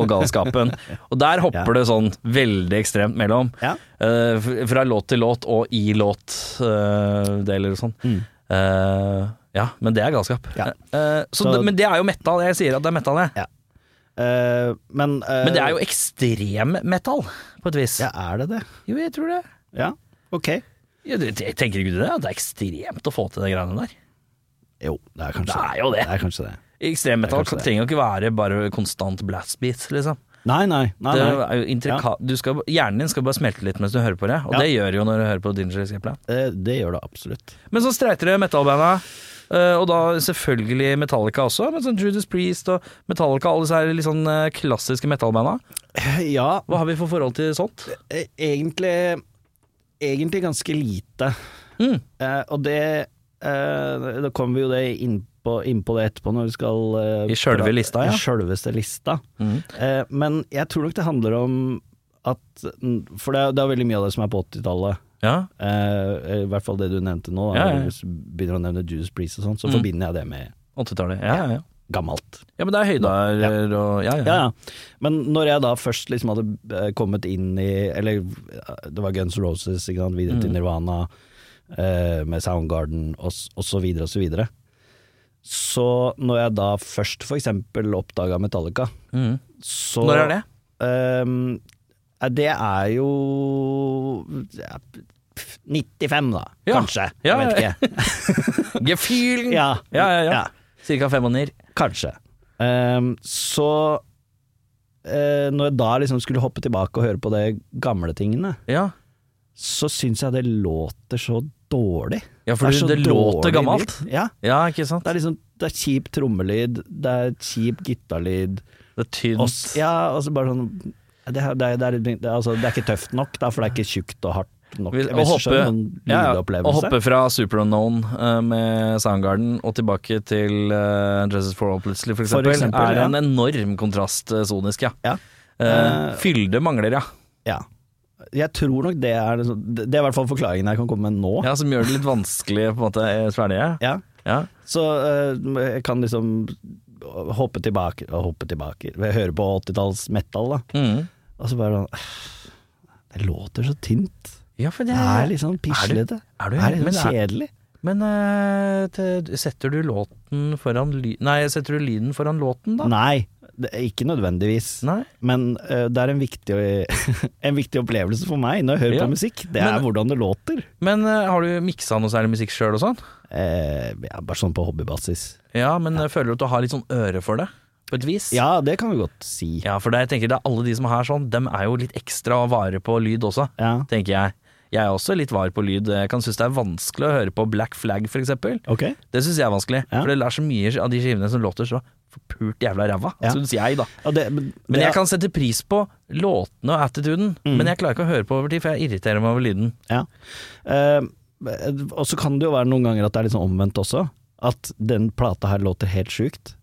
B: og galskapen. Og der hopper
C: Ja.
B: det sånn veldig ekstremt mellom.
C: Ja.
B: Eh, f- fra låt til låt og i låt eh, det eller sånn. Eh, ja, men det er galskap.
C: Mm. Ja.
B: Eh, så,
C: Så-
B: det, men det er jo metal. Jeg sier at det er metal, jeg.
C: Eh, men eh,
B: Men det er jo ekstrem metal, på et vis.
C: Ja, er det det?
B: Jo, jeg tror det.
C: Ja, ok.
B: Jeg, jeg tenker ikke du det? At det er ekstremt å få til de greiene der.
C: Jo, det er kanskje
B: Det er jo det.
C: det er kanskje det.
B: Ekstrem metal
C: Det er kanskje det.
B: trenger jo ikke være bare konstant blastbeat, liksom.
C: Nei, nei. nei,
B: Det
C: nei.
B: er jo intrika du skal, hjernen din skal bare smelte litt mens du hører på det, og
C: Ja.
B: det gjør jo når du hører på Dinger Escape Plan.
C: Eh, det gjør det absolutt.
B: Men så streiter det metalbanda, eh, og da selvfølgelig Metallica også, men sånn Judas Priest og Metallica, alle disse her litt sånn eh, klassiske metalbanda.
C: Eh, Ja,
B: Hva har vi for forhold til sånt?
C: eh, egentlig Egentlig ganske lite.
B: Mm.
C: Eh, og det eh, Da kommer vi jo det inn på, inn på det etterpå, når vi skal eh,
B: I sjølve
C: pra-
B: lista, ja.
C: I sjølveste lista.
B: Mm.
C: Eh, men jeg tror nok det handler om at For det er, det er veldig mye av det som er på 80-tallet.
B: Ja.
C: Eh, I hvert fall det du nevnte nå. Da,
B: Ja, ja.
C: Hvis du begynner å nevne Judas Priest og sånn, så
B: Mm.
C: forbinder jeg det med
B: 80-tallet. Ja, ja, ja.
C: gammalt.
B: Ja, men det er høyder og ja,
C: Ja, ja. Men når jeg da først liksom hadde eh, kommet inn i Eller eh, det var Guns N' Roses, ikke
B: Mm.
C: sant? videre til Nirvana, eh, med Soundgarden og, s- og så videre og så videre. Så når jeg da først for eksempel oppdaga Metallica,
B: Mm.
C: så
B: Når er det?
C: Ehm, eh, det er jo ja, 95, da.
B: Ja.
C: Kanskje.
B: Ja,
C: jeg
B: ja.
C: vet ikke.
B: Gefühlen!
C: Ja,
B: Ja, ja, ja. Cirka fem og nier.
C: Kanskje. Ehm, så eh, når jeg da liksom skulle hoppe tilbake og høre på de gamle tingene,
B: Ja.
C: så syns jeg det låter så dårlig.
B: Ja, for
C: er så
B: det låter
C: dårlig
B: gammelt.
C: lyd. Ja,
B: Ja, ikke sant?
C: det er liksom det er kjip trommelyd, det er kjip gitarlyd.
B: Det er
C: og
B: tynt.
C: s- Ja, og så bare sånn det, er- det, er- det, er- det, er- altså, det er ikke tøft nok, da, for det er ikke tjukt og hardt nok.
B: Vil-
C: Jeg vet
B: å
C: ikke, skjønner du,
B: hoppe- ja, ja, å
C: en lydeopplevelse.
B: hoppe fra Super Unknown eh, med Soundgarden og tilbake til uh, Dresses for All plutselig, for
C: For
B: eksempel,
C: eksempel,
B: er
C: ja.
B: en enorm kontrast eh, sonisk, ja.
C: Ja.
B: Eh,
C: Eh,
B: fylde mangler, ja.
C: ja. Jeg tror nok det er liksom- Det det er i hvert fall forklaringen jeg kan komme med nå.
B: ja. Som gjør det litt vanskelig, på en måte, eh, svelge.
C: Ja.
B: Ja.
C: Så eh, jeg kan liksom hoppe tilbake og hoppe tilbake. Jeg hører på 80-talls metal, da.
B: Mm.
C: Og så bare sånn Det låter så tynt.
B: ja, for
C: Det er litt sånn pislete.
B: er du-
C: Det er litt
B: men
C: sånn
B: er-
C: kjedelig.
B: Men eh, te- setter du låten foran ly Nei, setter du lyden foran låten, da?
C: Nei, det er ikke nødvendigvis.
B: Nei.
C: Men eh, det er en viktig, en viktig opplevelse for meg når jeg hører
B: Ja.
C: på musikk. Det er
B: Men-
C: hvordan det låter.
B: Men eh, har du miksa noe særlig musikk sjøl og sånn?
C: Eh, ja, bare sånn på hobbybasis.
B: Ja, men eh, føler du at du har litt sånn øre for det? På et vis?
C: Ja, det kan vi godt si.
B: Ja, for det, jeg tenker det er alle de som har sånn, dem er jo litt ekstra vare på lyd også,
C: Ja.
B: tenker jeg. Jeg er også litt var på lyd. Jeg kan synes det er vanskelig å høre på Black Flag, for eksempel.
C: Ok.
B: Det synes jeg er vanskelig,
C: Ja.
B: for det er så mye av de skivene som låter så forpult jævla ræva,
C: Ja.
B: synes jeg, da.
C: Ja, det, Mm. men,
B: Men
C: ja,
B: jeg kan sette pris på låtene og attituden, men jeg klarer ikke å høre på over tid, for jeg irriterer meg over lyden.
C: Ja. Eh, og så kan det jo være noen ganger at det er litt sånn omvendt også. At den plata her låter helt sjukt.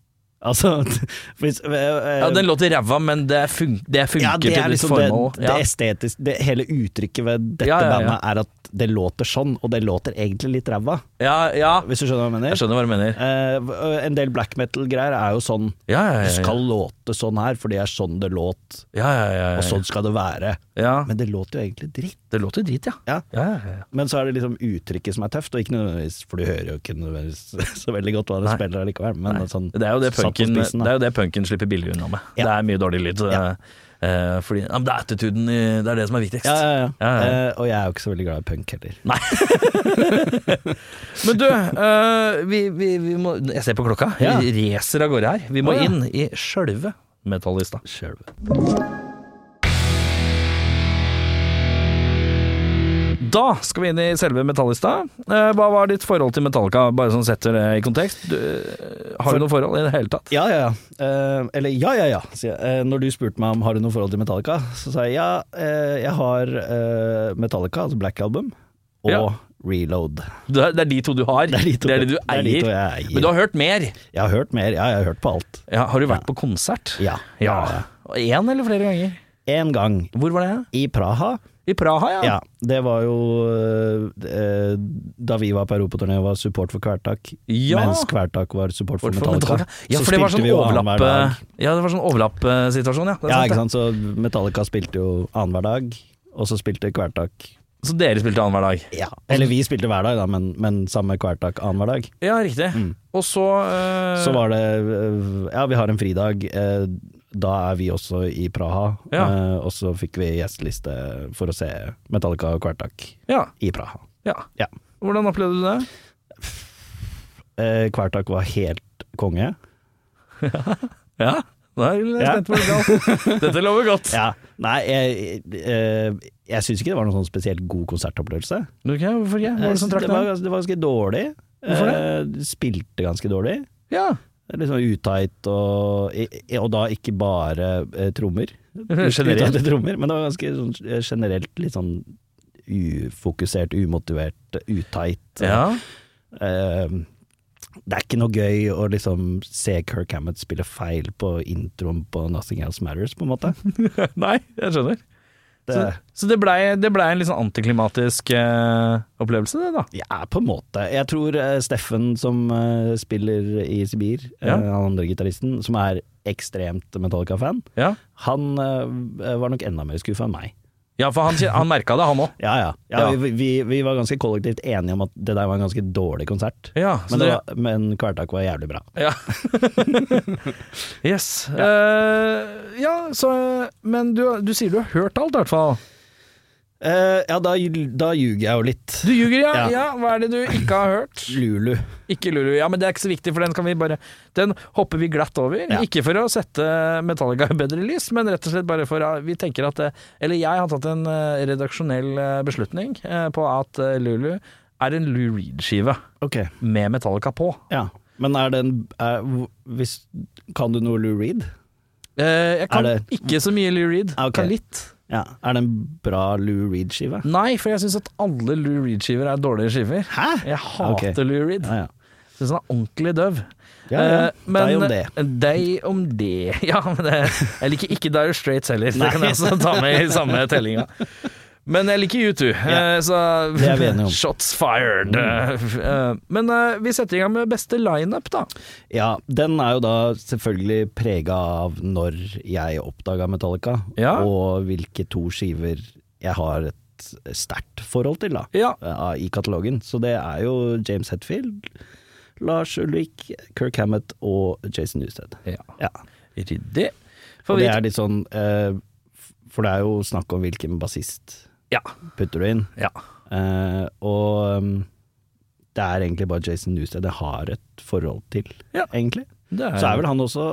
C: Altså for hvis, eh,
B: Ja, den låter ræva, men det, fun det funker
C: ja, det er
B: til ditt
C: liksom det,
B: formål.
C: det estetiske det, Hele uttrykket ved dette
B: Ja, ja, ja.
C: bandet er at det låter sånn, og det låter egentlig litt ræva,
B: ja, ja,
C: hvis du skjønner hva jeg
B: jeg
C: mener.
B: skjønner hva du mener.
C: Eh, en del black metal-greier er jo sånn
B: Ja, ja,
C: Det
B: ja. ja.
C: skal låte sånn her, for det er sånn det låt,
B: Ja, ja, ja,
C: og
B: ja.
C: sånn skal det være.
B: ja.
C: Men det låter jo egentlig dritt.
B: Det låter drit, ja.
C: Ja.
B: ja, ja, ja.
C: Men så er det liksom uttrykket som er tøft, og ikke nødvendigvis For du hører jo ikke nødvendigvis så veldig godt hva det
B: Nei.
C: spiller allikevel, men sånn
B: Det er jo det
C: satt på
B: punken,
C: spissen,
B: det
C: da.
B: er jo det punken slipper billig unna med.
C: Ja.
B: Det er mye dårlig lyd.
C: Ja.
B: Eh, Eh, fordi, ja, men det er attituden, i- det er det som er viktigst.
C: Ja, ja, ja.
B: Ja, ja.
C: Eh, og jeg er jo ikke så veldig glad i punk heller.
B: Nei. Men du, eh, vi, vi, vi må Jeg ser på klokka.
C: Ja.
B: Vi racer av gårde her. Vi må
C: Å, ja.
B: inn i sjølve metallista. Da skal vi inn i selve metallista. Eh, hva var ditt forhold til Metallica, bare sånn setter det i kontekst? Du, eh, har
C: For-
B: du noe forhold i det hele tatt?
C: Ja, ja, ja. Eh, eller ja, ja, ja, sier jeg. Eh, når du spurte meg om har du noe forhold til Metallica, så sa jeg ja, eh, jeg har eh, Metallica, altså Black Album, og
B: Ja.
C: Reload.
B: Du, det er de to du har.
C: Det er de to,
B: det du
C: det er de to
B: eier.
C: jeg eier.
B: Men du har hørt mer.
C: Jeg har hørt mer, ja, jeg har hørt på alt.
B: Ja, har du vært på konsert?
C: Ja.
B: Ja. Én eller flere ganger?
C: En gang
B: Hvor var det?
C: i Praha,
B: I Praha, ja.
C: ja, det var jo eh, da vi var på europaturné og var support for Kvertak,
B: Ja.
C: mens Kvertak var support for
B: Hvorfor Metallica?
C: Metallica.
B: Ja,
C: så
B: for det var
C: spilte
B: sånn
C: vi jo annenhver
B: overlapp
C: dag.
B: Ja, det var sånn overlappsituasjon, ja. Det er
C: Ja,
B: sant,
C: ikke
B: det.
C: sant, så Metallica spilte jo annenhver dag, og så spilte Kvertak
B: Så dere spilte annenhver dag?
C: Ja, eller vi spilte hver dag da, men, men samme kvartak annenhver dag.
B: Ja, riktig. Mm. Og så eh,
C: Så var det øh, Ja, vi har en fridag. eh, Da er vi også i Praha.
B: Ja.
C: eh, Og så fikk vi gjesteliste for å se Metallica og kvartak
B: ja,
C: i Praha.
B: ja.
C: Ja.
B: Hvordan opplevde du det?
C: Eh, Kvartak var helt konge.
B: Ja, da er jeg spent på hvordan det galt. Dette lover godt.
C: Ja. Nei, jeg, jeg, jeg syns ikke det var noen sånn spesielt god konsertopplevelse.
B: Ok, hvorfor ikke? Hva var det som trakk
C: det, var,
B: deg?
C: gans- det var ganske dårlig.
B: Hvorfor
C: Eh, Spilte ganske dårlig.
B: Ja.
C: Det er Litt sånn utight, og, i- og da ikke bare eh, trommer.
B: Generelt.
C: Utighte trommer, men det var ganske sånn, eh, generelt litt sånn ufokusert, umotivert, utight.
B: ja.
C: Eh, det er ikke noe gøy å liksom se Kirk Hammett spille feil på introen på Nothing Else Matters, på en måte.
B: Nei, jeg skjønner.
C: Det,
B: Så, så det blei det ble en litt sånn antiklimatisk eh, opplevelse, det, da.
C: ja, på en måte. Jeg tror eh, Steffen, som eh, spiller i Sibir, eh,
B: Ja.
C: han andre gitaristen, som er ekstremt Metallica-fan,
B: Ja,
C: han eh, var nok enda mer skuffa enn meg.
B: ja for han, kjen- han merka det, han òg.
C: Ja, ja. ja,
B: Ja.
C: Vi, vi, vi var ganske kollektivt enige om at det der var en ganske dårlig konsert.
B: Ja, så
C: Men, det
B: dere-
C: var, men Kvartak var jævlig bra.
B: Ja. yes. Ja, ja så eh, Men du, du sier du har hørt alt, i hvert fall.
C: Eh, ja, da, da ljuger jeg jo litt.
B: Du ljuger, ja.
C: Ja.
B: ja. Hva er det du ikke har hørt?
C: Lulu.
B: Ikke Lulu. Ja, men det er ikke så viktig, for den kan vi bare Den hopper vi glatt over.
C: Ja.
B: Ikke for å sette Metallica i bedre lys, men rett og slett bare for at vi tenker at eh, Eller jeg har tatt en eh, redaksjonell eh, beslutning eh, på at eh, Lulu er en Lou Reed-skive
C: Ok,
B: med Metallica på.
C: ja. Men er det en er, hvis, Kan du noe Lou Reed?
B: Eh, Jeg kan
C: Er det-
B: ikke så mye Lou Reed.
C: Ah, ok.
B: Kan litt.
C: Ja. Mm. Er det en bra Lou Reed-skive?
B: Nei, for jeg syns at alle Lou Reed-skiver er dårlige skiver.
C: Hæ?
B: Jeg hater
C: Ok.
B: Lou Reed.
C: Ja, ja.
B: Syns han er ordentlig døv.
C: ja, ja.
B: Eh, men-
C: Deg om det.
B: Deg om det. Ja, men det, jeg liker ikke Dire Straits heller. Det kan jeg også ta med i samme tellinga. Men jeg liker U2, eh, så
C: Det er vi enige om. Mm.
B: shots fired. Eh, Men eh, vi setter i gang med beste lineup, da.
C: Ja, den er jo da selvfølgelig prega av når jeg oppdaga Metallica,
B: Ja.
C: og hvilke to skiver jeg har et sterkt forhold til, da.
B: Ja.
C: eh, I katalogen. Så det er jo James Hetfield, Lars Ulrik, Kirk Hammett og Jason Newsted. Ja.
B: Ryddig.
C: Og
B: For
C: det
B: vi,
C: er litt sånn eh, f- For det er jo snakk om hvilken bassist
B: ja,
C: putter du inn.
B: ja.
C: Eh, og um, det er egentlig bare Jason Newsted jeg har et forhold til,
B: Ja.
C: egentlig.
B: Det er-
C: Så er vel han også,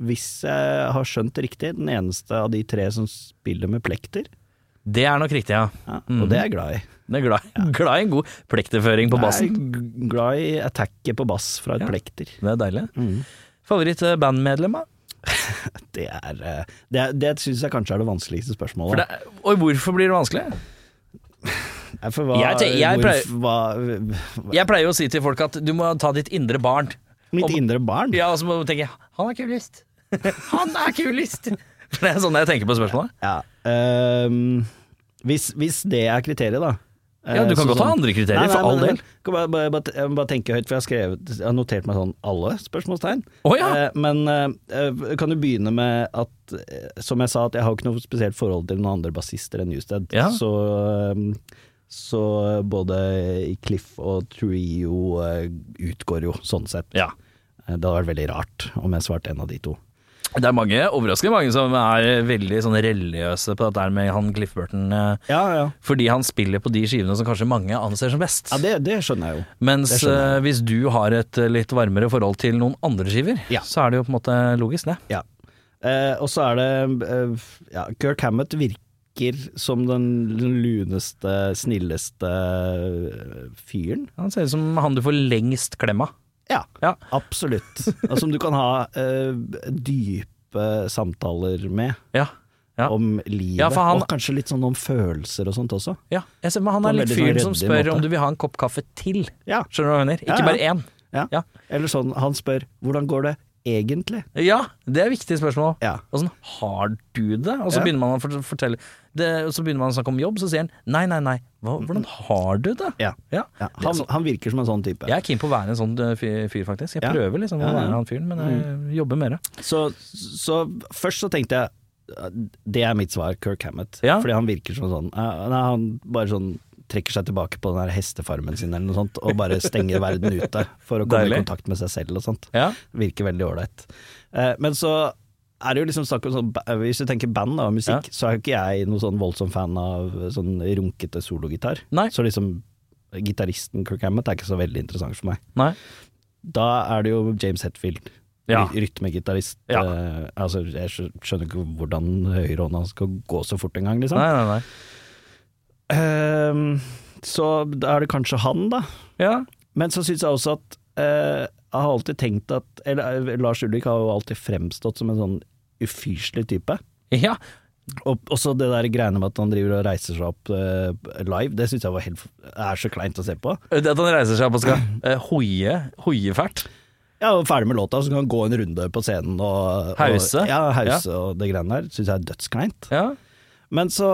C: hvis jeg har skjønt det riktig, den eneste av de tre som spiller med plekter.
B: Det er nok riktig, ja.
C: Ja,
B: Mhm.
C: Og det er jeg glad i.
B: Det er glad, glad i en god plekterføring på bassen.
C: Jeg er g- glad i attacket på bass fra et
B: Ja.
C: plekter.
B: Det er deilig.
C: Mm.
B: Favoritt-bandmedlem, da?
C: Det, er, eh, det, er- det syns jeg kanskje er det vanskeligste spørsmålet.
B: For det, og hvorfor blir det vanskelig?
C: Nei, for hva,
B: Jeg te- jeg
C: hvorf-
B: pleier-
C: hva, hva,
B: Jeg pleier jo å si til folk at du må ta ditt indre barn.
C: mitt
B: om-
C: indre barn?
B: Ja, og så må du tenke 'han er kulest'. Han er kulest! For det er sånn jeg tenker på spørsmålet.
C: Ja, ehm, hvis, hvis det er kriteriet, da. Eh,
B: Ja, du kan godt
C: sånn-
B: ha andre kriterier, for all del.
C: Kan bare, bare, bare, jeg må bare tenke høyt, for jeg har, skrevet, jeg har notert meg sånn alle spørsmålstegn.
B: Å, ja.
C: Eh, men eh, kan du begynne med at, eh, som jeg sa, at jeg har ikke noe spesielt forhold til noen andre bassister enn Newsted.
B: Ja.
C: Så, eh, så både Cliff og Trio eh, utgår jo, sånn sett.
B: Ja.
C: Eh, Det hadde vært veldig rart om jeg svarte en av de to.
B: Det er mange, overraskende mange som er veldig sånn religiøse på dette her med han Cliff Burton. eh,
C: Ja, ja.
B: Fordi han spiller på de skivene som kanskje mange anser som best.
C: ja det, det skjønner jeg jo.
B: Mens
C: det skjønner
B: eh, hvis du har et eh, litt varmere forhold til noen andre skiver,
C: Ja.
B: så er det jo på en måte logisk, det.
C: Ja. Eh, og så er det eh, ja, Kirk Hammett virker som den luneste, snilleste eh, fyren.
B: Han ser ut som han du får lengst klem av.
C: Ja,
B: Ja.
C: absolutt. Og som du kan ha eh, dype samtaler med.
B: Ja. Ja.
C: Om livet,
B: Ja, for han-
C: og kanskje litt sånn om følelser og sånt også.
B: ja. Jeg ser, men han
C: På en
B: er litt
C: veldig sånn
B: fyren som
C: ryddig
B: spør
C: måte.
B: om du vil ha en kopp kaffe til.
C: Ja.
B: Skjønner du hva jeg mener?
C: Ja,
B: Ikke
C: ja.
B: bare én.
C: ja.
B: Ja.
C: Eller sånn, han spør 'hvordan går det egentlig'?
B: Ja, det er viktige spørsmål.
C: Ja.
B: Og sånn, har du det? Og så
C: Ja.
B: begynner man å fort- fortelle det, og Så begynner man å snakke om jobb, så sier han nei, nei, nei, hva, hvordan har du det?
C: Ja.
B: Ja.
C: Ja, han, han virker som en sånn type.
B: Jeg er keen på å være en sånn eh, fyr, fyr faktisk. Jeg
C: Ja.
B: prøver liksom
C: Ja,
B: å
C: Mm. ja.
B: være han fyren, men jeg jobber mer.
C: Så, så først så tenkte jeg eh, Det er mitt svar, Kirk Hammett.
B: Ja.
C: Fordi han virker som sånn eh, Nei, han bare sånn trekker seg tilbake på den her hestefarmen sin eller noe sånt, og bare stenger verden ute for å komme
B: Deilig.
C: i kontakt med seg selv og sånt.
B: Ja.
C: Virker veldig ålreit. Eh, Men så er det jo liksom snakk om sånn ba- Hvis du tenker band da, og musikk, så er jo ikke jeg noen sånn voldsom fan av sånn runkete sologitar.
B: Nei.
C: Så liksom gitaristen Kirk Hammett er ikke så veldig interessant for meg.
B: Nei.
C: Da er det jo James Hetfield.
B: Ja.
C: ry- Rytmegitarist.
B: Ja.
C: Eh, altså, jeg skjø- skjønner ikke hvordan høyrehånda skal gå så fort engang, liksom.
B: nei, nei, nei.
C: Ehm, så da er det kanskje han, da.
B: Ja.
C: Men så syns jeg også at eh, Jeg har alltid tenkt at Eller eh, Lars Ulrik har jo alltid fremstått som en sånn ufyselig type.
B: ja.
C: Og også det der greiene med at han driver og reiser seg opp eh, live, det syns jeg var helt, er så kleint å se på.
B: Det at han reiser seg opp og skal eh, hoie, hoie fælt.
C: Ja, og ferdig med låta, så kan han gå en runde på scenen og og-
B: Hause.
C: Ja, hause og det greiene der. Syns jeg er dødskleint.
B: Ja.
C: Men så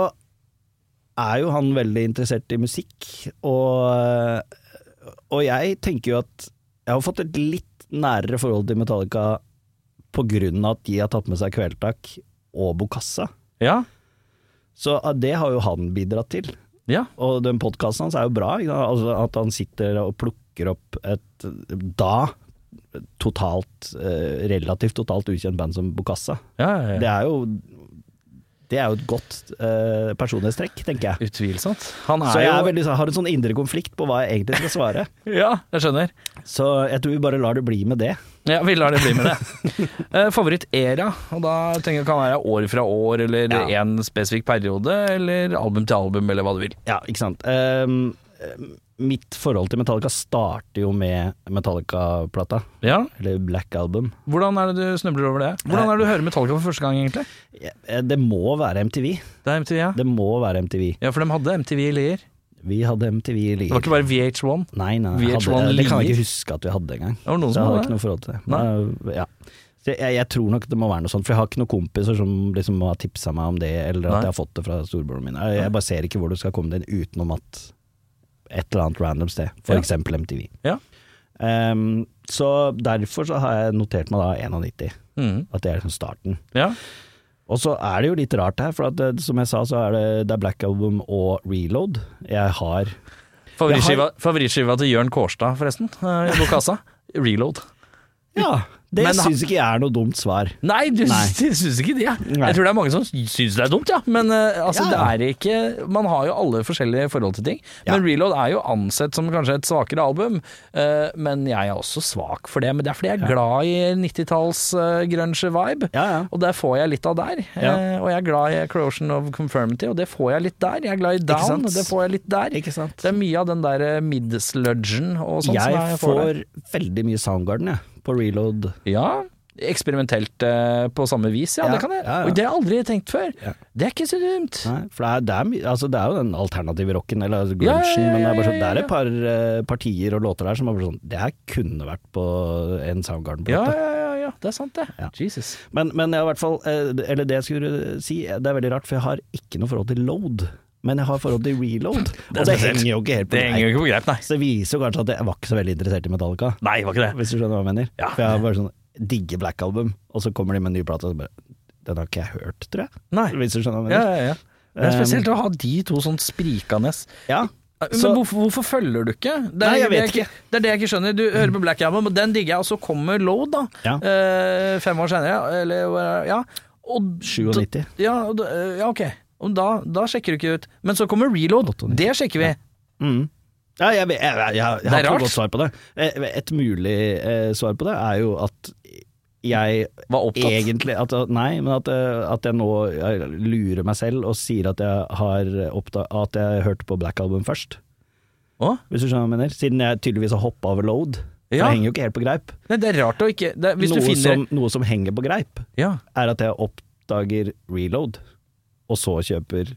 C: er jo han veldig interessert i musikk, og, og jeg tenker jo at jeg har fått et litt nærere forhold til Metallica på grunn av at de har tatt med seg Kvelertak og Bokassa.
B: Ja.
C: Så ah, det har jo han bidratt til.
B: Ja.
C: Og den podkasten hans er jo bra, ikke sant? altså at han sitter og plukker opp et da totalt, eh, relativt totalt ukjent band som Bokassa.
B: ja, ja,
C: Det
B: ja.
C: er jo det er jo et godt eh, personlighetstrekk, tenker jeg.
B: Utvilsomt. Han er
C: Så jeg
B: jo
C: er veldig, sånn- har en sånn indre konflikt på hva jeg egentlig skal svare.
B: Ja, jeg skjønner.
C: Så jeg tror vi bare lar det bli med det.
B: Ja, Vi lar det bli med det. Eh, Favoritt-era, og da tenker jeg kan være år fra år, eller
C: Ja.
B: en spesifikk periode, eller album til album, eller hva du vil.
C: Ja, ikke sant. Ehm, mitt forhold til Metallica starter jo med Metallica-plata,
B: Ja.
C: eller Black Album.
B: Hvordan er det du snubler over det? Hvordan er det du hører Metallica for første gang, egentlig?
C: Eh, Det må være MTV.
B: Det er MTV, ja.
C: Det må være MTV.
B: Ja, for de hadde MTV i Lier.
C: Vi hadde MTV
B: Det var
C: i Lier.
B: ikke bare VH1.
C: Nei, nei, nei,
B: VH1
C: hadde, det kan jeg
B: Lier?
C: ikke huske at vi hadde engang.
B: Det var noen
C: Så jeg
B: som
C: har
B: hadde
C: ikke
B: det.
C: noe forhold til det.
B: Nei.
C: Men, eh, ja. Så jeg, jeg tror nok det må være noe sånt, for jeg har ikke noen kompiser som liksom har tipsa meg om det, eller at
B: Nei.
C: jeg har fått det fra storebroren min. Jeg, jeg bare ser ikke hvor du skal komme deg inn utenom at et eller annet random sted,
B: Ja.
C: f.eks. eksempel MTV.
B: Ja.
C: Ehm, så derfor så har jeg notert meg da 91,
B: Mhm.
C: at det er liksom starten.
B: Ja.
C: Og så er det jo litt rart her, for at det, som jeg sa så er det, det er Black Album og Reload jeg har.
B: Favorittskiva, favorittskiva til Jørn Kårstad, forresten. eh, I Lokasa. Reload.
C: Ja, det
B: Men-
C: syns ikke jeg er noe dumt svar.
B: Nei, du
C: Nei.
B: sy- syns ikke det. ja.
C: Nei.
B: Jeg tror det er mange som syns det er dumt, ja. Men eh, altså,
C: Ja, ja.
B: det er ikke Man har jo alle forskjellige forhold til ting. Men Reload er jo ansett som kanskje et svakere album. eh, men jeg er også svak for det. Men det er fordi jeg er glad i 90-talls eh, grunge-vibe.
C: Ja, ja.
B: Og det får jeg litt av der.
C: Ja.
B: Eh, og jeg er glad i Corrosion of Confirmity, og det får jeg litt der. Jeg er glad i Down,
C: sant?
B: og det får jeg litt der.
C: Ikke sant?
B: Det er mye av den der eh, mid-sludgen og sånn som
C: jeg
B: jeg får der.
C: får veldig mye Soundgarden jeg, på reload.
B: Ja, eksperimentelt eh, på samme vis, ja,
C: Ja,
B: det kan jeg.
C: ja, ja.
B: Og det har jeg aldri tenkt før.
C: Ja.
B: Det er ikke så dumt.
C: Nei, for det er, det, er, my- altså, det er jo den alternative rocken, eller altså,
B: Ja, ja, ja,
C: grunchen, men det er, bare
B: ja,
C: sånn,
B: ja,
C: det er et par eh, partier og låter der som er bare sånn Det her kunne vært på en
B: Ja,
C: Soundgarden-plate.
B: ja, ja, ja, det er sant det.
C: Ja.
B: Jesus.
C: Men, men jeg har i hvert fall eh, Eller det jeg skulle si, det er veldig rart, for jeg har ikke noe forhold til load. Men jeg har forhold til reload,
B: er
C: og det
B: spesielt.
C: henger jo ikke helt på
B: Det henger
C: greip.
B: jo ikke på greip, nei.
C: Så det viser jo kanskje at jeg var ikke så veldig interessert i Metallica,
B: Nei, var ikke det.
C: hvis du skjønner hva jeg mener.
B: Ja.
C: For jeg har bare sånn digger Black Album, og så kommer de med en ny plate, og så bare Den har ikke jeg hørt, tror jeg.
B: Nei.
C: Hvis du skjønner hva jeg
B: Ja,
C: mener.
B: ja, ja. Det er
C: Um,
B: spesielt å ha de to sånn sprikende
C: Ja, Så-
B: Men hvorfor, hvorfor følger du ikke? Det
C: Nei,
B: det
C: jeg vet ikke.
B: Det er det jeg ikke skjønner. Du hører på Black Album, og den digger jeg, og så kommer Load, da.
C: Ja.
B: Eh, fem år senere, eller hva er det? ja. Og,
C: 97.
B: da- ja, og da- eh, ja, ok. Og da, da sjekker du ikke ut. Men så kommer Reload, det sjekker vi.
C: Mm. Ja, jeg, jeg, jeg, jeg, jeg har
B: Det er
C: ikke
B: rart.
C: noe godt svar på det. Eh, Et mulig eh, svar på det er jo at jeg
B: Var opptatt.
C: egentlig at, Nei, men at, eh, at jeg nå jeg lurer meg selv og sier at jeg har oppdag, at jeg hørte på Black Album først.
B: Å?
C: Hvis du skjønner hva jeg mener. Siden jeg tydeligvis har hoppa over load. Det
B: Ja.
C: henger jo ikke helt på greip.
B: Nei, det er rart å ikke det, er- Hvis du
C: Noe,
B: finner
C: som, noe som henger på greip,
B: ja,
C: er at jeg oppdager reload, og så kjøper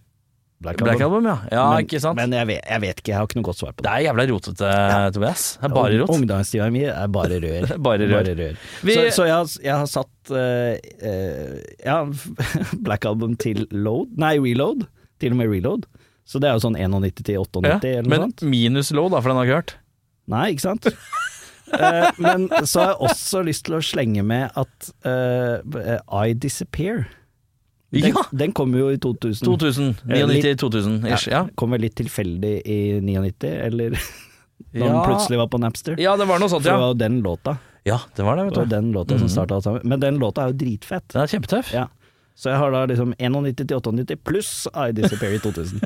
C: Black Album.
B: Black Album, ja. ja
C: men,
B: ikke sant?
C: men jeg, vet, jeg vet ikke, jeg har ikke noe godt svar på det.
B: det er jævla rotete, Tobias. Det er bare rot.
C: Ungdomstida mi er bare rør.
B: Det er bare rør. Vi-
C: Så, så jeg, har, jeg har satt eh, eh, ja, Black Album til load, nei reload, til og med reload. Så det er jo sånn 91 til 98
B: Ja,
C: eller noe
B: men
C: sånt.
B: minus Load, da, for den har jeg ikke hørt.
C: Nei, ikke sant? Eh, men så har jeg også lyst til å slenge med at eh, I Disappear Den,
B: Ja!
C: den kom jo i 2000.
B: 2000.
C: Eh, litt-
B: 99-2000 ish. Ja.
C: Kom vel litt tilfeldig i 99, eller da den
B: Ja.
C: plutselig var på Napster.
B: ja, det var noe sånt,
C: For det
B: ja.
C: var jo den låta.
B: Ja, Mhm. det var det,
C: Det var
B: vet du.
C: den låta som starta alt sammen. Men den låta er jo dritfett.
B: Den er kjempetøff.
C: Ja. Så jeg har da liksom 91 til 98 pluss I Disappear i 2000.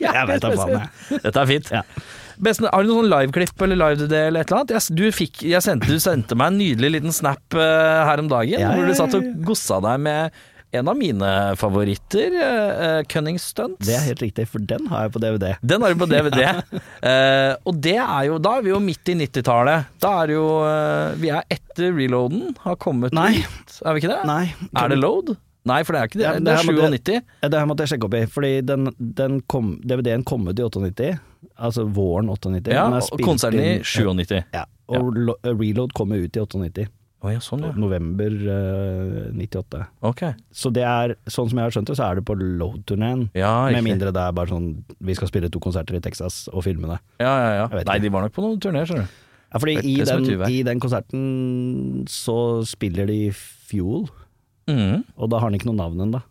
C: jeg vet da faen, jeg.
B: Dette er fint.
C: Ja.
B: Besten, har du noen sånn liveklipp eller live-DD eller et eller annet? Jeg, du, fikk, jeg sendte, du sendte meg en nydelig liten snap eh, her om dagen,
C: Ja,
B: hvor
C: ja,
B: du satt og
C: ja, ja.
B: gossa deg med en av mine favoritter, uh, Cunning Stunts.
C: Det er helt riktig, for den har jeg på DVD.
B: Den har du på DVD. Eh, og det er jo Da er vi jo midt i 90-tallet. Da er det jo eh, Vi er etter reloaden har kommet
C: Nei.
B: ut. Er vi ikke det?
C: Nei.
B: Er det load? Nei, for det er ikke det.
C: Ja, men
B: det,
C: det her
B: er
C: må
B: 97.
C: Ja, Det her måtte jeg sjekke opp i, fordi den, den kom, DVD-en kom ut i 98, altså våren 98.
B: Ja,
C: Den er
B: og
C: spilt
B: konserten i
C: inn-
B: 97.
C: Ja, og lo- Reload kom ut i 98,
B: Å ja, sånn ja.
C: november eh, 98.
B: Ok.
C: Så det er, sånn som jeg har skjønt det, så er det på Load-turneen.
B: Ja,
C: Med
B: riktig.
C: mindre det er bare sånn vi skal spille to konserter i Texas og filme det.
B: Ja, ja, ja.
C: Jeg vet
B: Nei,
C: ikke.
B: de var nok på noen turné, skjønner du.
C: Ja, fordi
B: Det er
C: i
B: det som er
C: den,
B: tyvær.
C: i den konserten så spiller de Fuel,
B: Mhm.
C: og da har han ikke noe navn ennå.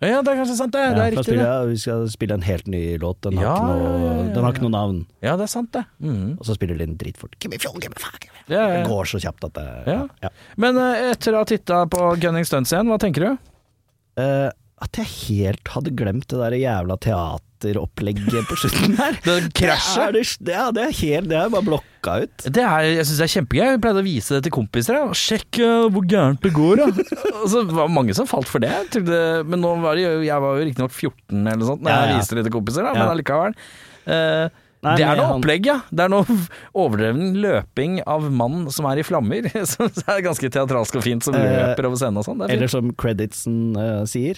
B: Ja, det er kanskje sant, det. det
C: Ja,
B: er
C: for
B: riktig,
C: spiller,
B: det.
C: ja, vi skal spille en helt ny låt, den,
B: Ja,
C: har, ikke noe,
B: ja, ja, ja,
C: den har ikke noe navn.
B: Ja, det er sant, det. Mhm.
C: Og så spiller de den dritfort. Give me fuel, give me fuck.
B: Ja, ja, ja.
C: Det går så kjapt at det
B: Ja.
C: ja.
B: Men eh, etter å ha titta på Gunning Stunts igjen, hva tenker du?
C: Eh, at jeg helt hadde glemt det der jævla teateropplegget på slutten her.
B: Det krasjet.
C: Det er, det, ja, det er helt Det er bare blokka ut.
B: Det er, jeg syns det er kjempegøy. Jeg pleide å vise det til kompiser. Ja. Sjekk eh, hvor gærent det går, ja. Og så var det mange som falt for det. Jeg Trodde, men nå var det, jo- jeg var jo riktignok 14 eller noe sånt når
C: Ja, ja.
B: jeg viste det til kompiser, da, men
C: Ja.
B: allikevel. Eh,
C: Nei,
B: det er
C: men
B: noe
C: han-
B: opplegg, ja. Det er noe overdreven løping av mann som er i flammer. Som er ganske teatralsk og fint, som
C: Eh,
B: løper over scenen og sånn. Det er
C: Eller
B: fint.
C: som creditsen eh, sier,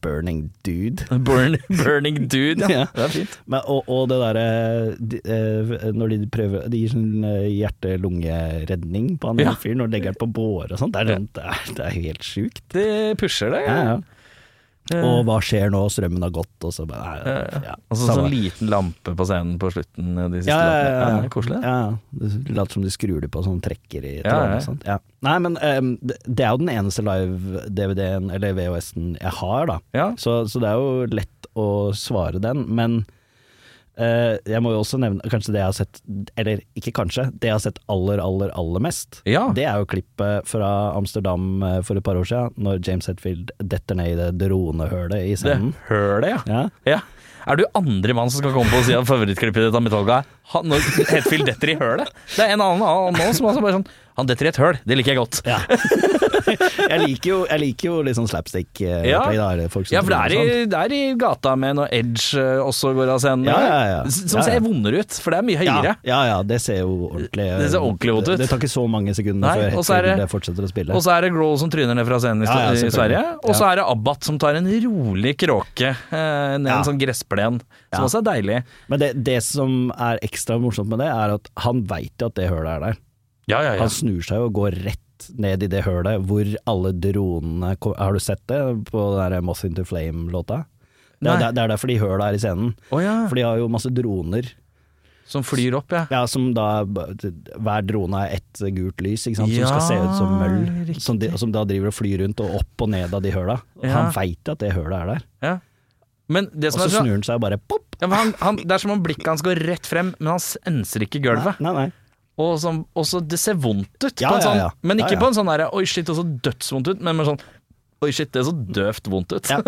C: burning dude.
B: Burn, burning dude, ja.
C: Ja.
B: Det er fint.
C: Men, og, og det derre de, eh, Når de prøver De gir sånn eh, hjerte-lunge-redning på han
B: Ja.
C: ja. fyren og legger han på båre og sånt. Det er, sånn, det er, det er helt sjukt.
B: Det pusher det.
C: Ja, ja.
B: Eh,
C: Og hva skjer nå? Strømmen har gått, og så bare nei, ja,
B: og så
C: samme.
B: sånn liten lampe på scenen på slutten eh, de siste
C: ja, ja, ja, ja.
B: lampene. Koselig.
C: Ja, ja. Det later som de skrur det på sånn trekker i
B: Ja,
C: tråden
B: ja.
C: og sånt. Ja. Nei, men ehm, det, det er jo den eneste live-DVD-en, eller VHS-en, jeg har, da.
B: Ja.
C: Så, så det er jo lett å svare den, men eh, jeg må jo også nevne kanskje det jeg har sett, eller ikke kanskje, det jeg har sett aller, aller, aller mest.
B: Ja.
C: Det er jo klippet fra Amsterdam eh, for et par år siden, når James Hetfield detter ned i det dronehølet i
B: Mm. Det
C: scenen.
B: hølet, ja.
C: Ja.
B: ja. Er du andre mann som skal komme på og si at favorittklippet ditt av Metallica er han- når Hetfield detter i hølet? Det er en annen annen nå som også bare sånn Han detter i et høl, det liker jeg godt.
C: Ja. jeg liker jo, jeg liker jo litt sånn slapstick. eh,
B: Ja.
C: opplegg, da, eller folk som
B: Ja, for det er,
C: driver med sånt.
B: i, det er i gata med når Edge eh, også går av scenen.
C: Ja, ja, ja.
B: Som
C: Ja, ja.
B: ser vondere ut, for det er mye høyere.
C: ja, ja, ja, det ser jo ordentlig
B: Det ser ordentlig hot ut.
C: Det, det tar ikke så mange sekundene
B: Nei,
C: før
B: og så er
C: Hetfield
B: det-
C: fortsetter å spille.
B: Og så er det Grohl som tryner ned fra scenen i,
C: Ja, ja,
B: St- i
C: selvfølgelig.
B: Sverige. Og så
C: Ja.
B: er det Abbat som tar en rolig kråke eh, ned en
C: Ja.
B: sånn gressplen, som
C: Ja.
B: også er deilig.
C: Men det, det som er ekstra morsomt med det, er at han veit jo at det hølet er der.
B: Ja, ja, ja.
C: Han snur seg jo og går rett ned i det hølet hvor alle dronene ko- Har du sett det på den der Moth into Flame-låta? Det,
B: Nei.
C: er- det er derfor de høla er i scenen.
B: Å ja.
C: For de har jo masse droner.
B: Som flyr opp, ja.
C: Ja, som da Hver drone er ett gult lys, ikke sant,
B: Ja,
C: som skal se ut som møll.
B: riktig.
C: Som, de, som da driver og flyr rundt og opp og ned av de høla.
B: Ja.
C: Han veit at det hølet er der.
B: Ja. Men det
C: Og
B: som
C: så
B: er så,
C: snur han seg og bare pop.
B: ja, men han, han, det er som om blikket hans går rett frem, men han senser ikke gulvet.
C: Nei, nei.
B: Og som, også, det ser vondt ut,
C: Ja,
B: på en
C: ja,
B: sånn,
C: ja.
B: men ikke
C: Ja, ja.
B: på en sånn derre Oi, shit, det så dødsvondt ut, men med sånn Oi, shit, det så døvt vondt ut.
C: Ja.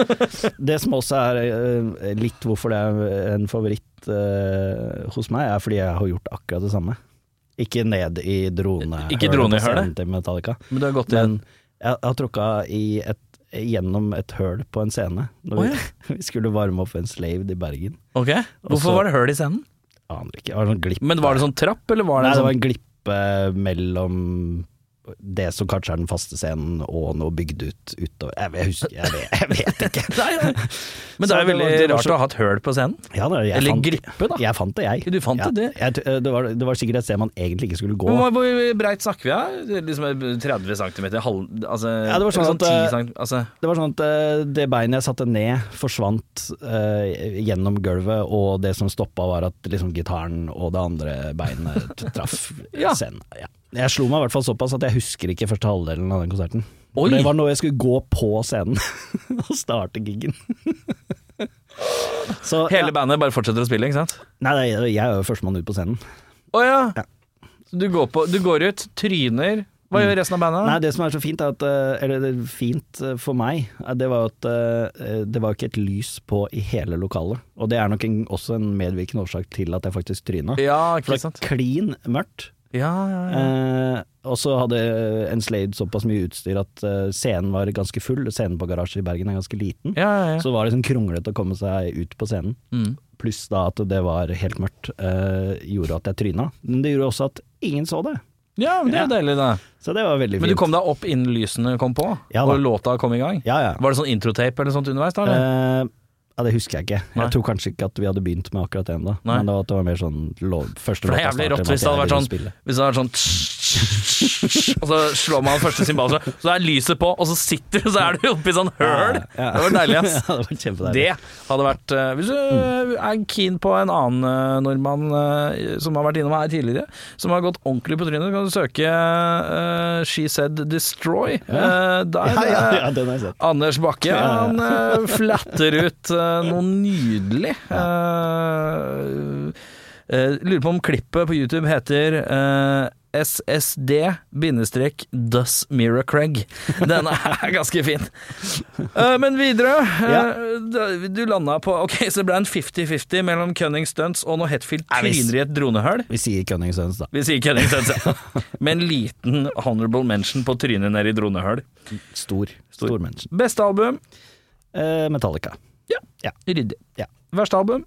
C: Det som også er eh, litt hvorfor det er en favoritt eh, hos meg, er fordi jeg har gjort akkurat det samme. Ikke ned i drone
B: Ikke dronehølet?
C: til Metallica,
B: Men du har gått igjen.
C: men jeg har tråkka i et gjennom et høl på en scene. Når vi,
B: Å,
C: vi skulle varme opp en slave i Bergen.
B: Ok, Hvorfor
C: Også-
B: var det høl i scenen?
C: Aner ikke. Det var en sånn glipp.
B: Men var det sånn trapp, eller var det
C: Nei,
B: en
C: det
B: sånn
C: var en glippe mellom det som kanskje er den faste scenen, og noe bygd ut utover Jeg, jeg, husker, jeg, vet, jeg vet ikke.
B: Nei, nei. Men det er
C: Så
B: jo
C: det var-
B: veldig
C: det var
B: rart å ha et høl på scenen.
C: Ja, da, jeg
B: Eller
C: fant-
B: grippe, da.
C: Jeg fant det, jeg.
B: Du fant
C: ja,
B: det, det.
C: Jeg, t- eh, det, var, det var sikkert et sted man egentlig ikke skulle gå.
B: Men Hvor hvor breit snakker vi her? Det er Liksom 30 cm? Halv, altså,
C: Ja, det var sånn
B: eller
C: at,
B: 10
C: eh,
B: cm, altså,
C: Det var sånn at eh, det beinet jeg satte ned, forsvant eh, gjennom gulvet, og det som stoppa var at liksom, gitaren og det andre beinet t- traff
B: Ja.
C: scenen. Ja. Jeg slo meg i hvert fall såpass at jeg husker ikke første halvdelen av den konserten.
B: Oi!
C: For Det var når jeg skulle gå på scenen og starte gigen. Så
B: Hele
C: ja.
B: bandet bare fortsetter å spille, ikke sant?
C: Nei, nei, jeg er jo førstemann ut på scenen.
B: Å ja.
C: Ja. Mm.
B: Så du går, på, du går ut, tryner. Hva gjør resten av bandet?
C: Nei, det som er så fint, er at, eh, eller det er fint eh, for meg, eh, det var jo at eh, det var jo ikke et lys på i hele lokalet. Og det er nok en, også en medvirkende årsak til at jeg faktisk tryna.
B: Ja,
C: For
B: ikke
C: det
B: sant?
C: er klin mørkt.
B: Ja, ja, ja.
C: Eh, og så hadde Enslade såpass mye utstyr at eh, scenen var ganske full. Scenen på garasje i Bergen er ganske liten.
B: ja, ja, ja.
C: Så var det liksom kronglete å komme seg ut på scenen.
B: Mm.
C: Pluss da at det var helt mørkt, eh, gjorde at jeg tryna. Men det gjorde også at ingen så det.
B: ja men det er jo deilig, da.
C: Så det var veldig fint.
B: Men du kom deg opp innen lysene kom på,
C: Ja da.
B: og låta kom i gang?
C: Ja, ja.
B: Var det sånn introtape eller sånt underveis? da? Eller?
C: Eh, ja, Det husker jeg ikke.
B: Nei.
C: Jeg tror kanskje ikke at vi hadde begynt med akkurat det ennå.
B: Nei.
C: Men det var, at det var mer sånn lov, første
B: For det er
C: låta
B: jævlig rått hvis det hadde
C: starter med at jeg
B: vært sånn
C: begynner å spille.
B: Hvis det hadde vært sånn Og så slår man første cymbal, så så er lyset på, og så sitter du, så er du oppi sånn høl.
C: Ja, ja.
B: Det var deilig, ass.
C: ja, det var kjempedeilig.
B: Det hadde vært eh, Hvis du
C: Mm.
B: eh, er keen på en annen eh, nordmann eh, som har vært innom her tidligere, som har gått ordentlig på trynet, så kan du søke eh, She Said Destroy. Eh, der
C: Ja, ja,
B: eh,
C: ja, den har jeg sett.
B: Anders Bakke
C: Ja, ja.
B: han eh, flatter ut eh, noe nydelig. Eh, eh, lurer på om klippet på YouTube heter eh, SSD-Does Miracreg. Den er ganske fin. Eh, men videre eh, da- Du landa på Ok, så det ble en 50-50 mellom Cunning Stunts og når Hetfield
C: Nei, hvis-
B: tryner i et dronehull.
C: Vi sier Cunning Sons, da.
B: Vi sier Cunning Stunts, ja. Med en liten honorable mention på trynet nede i dronehull.
C: Stor. Stor, menneske.
B: Beste album?
C: Eh, Metallica.
B: Ryddig.
C: Ja.
B: Verste album?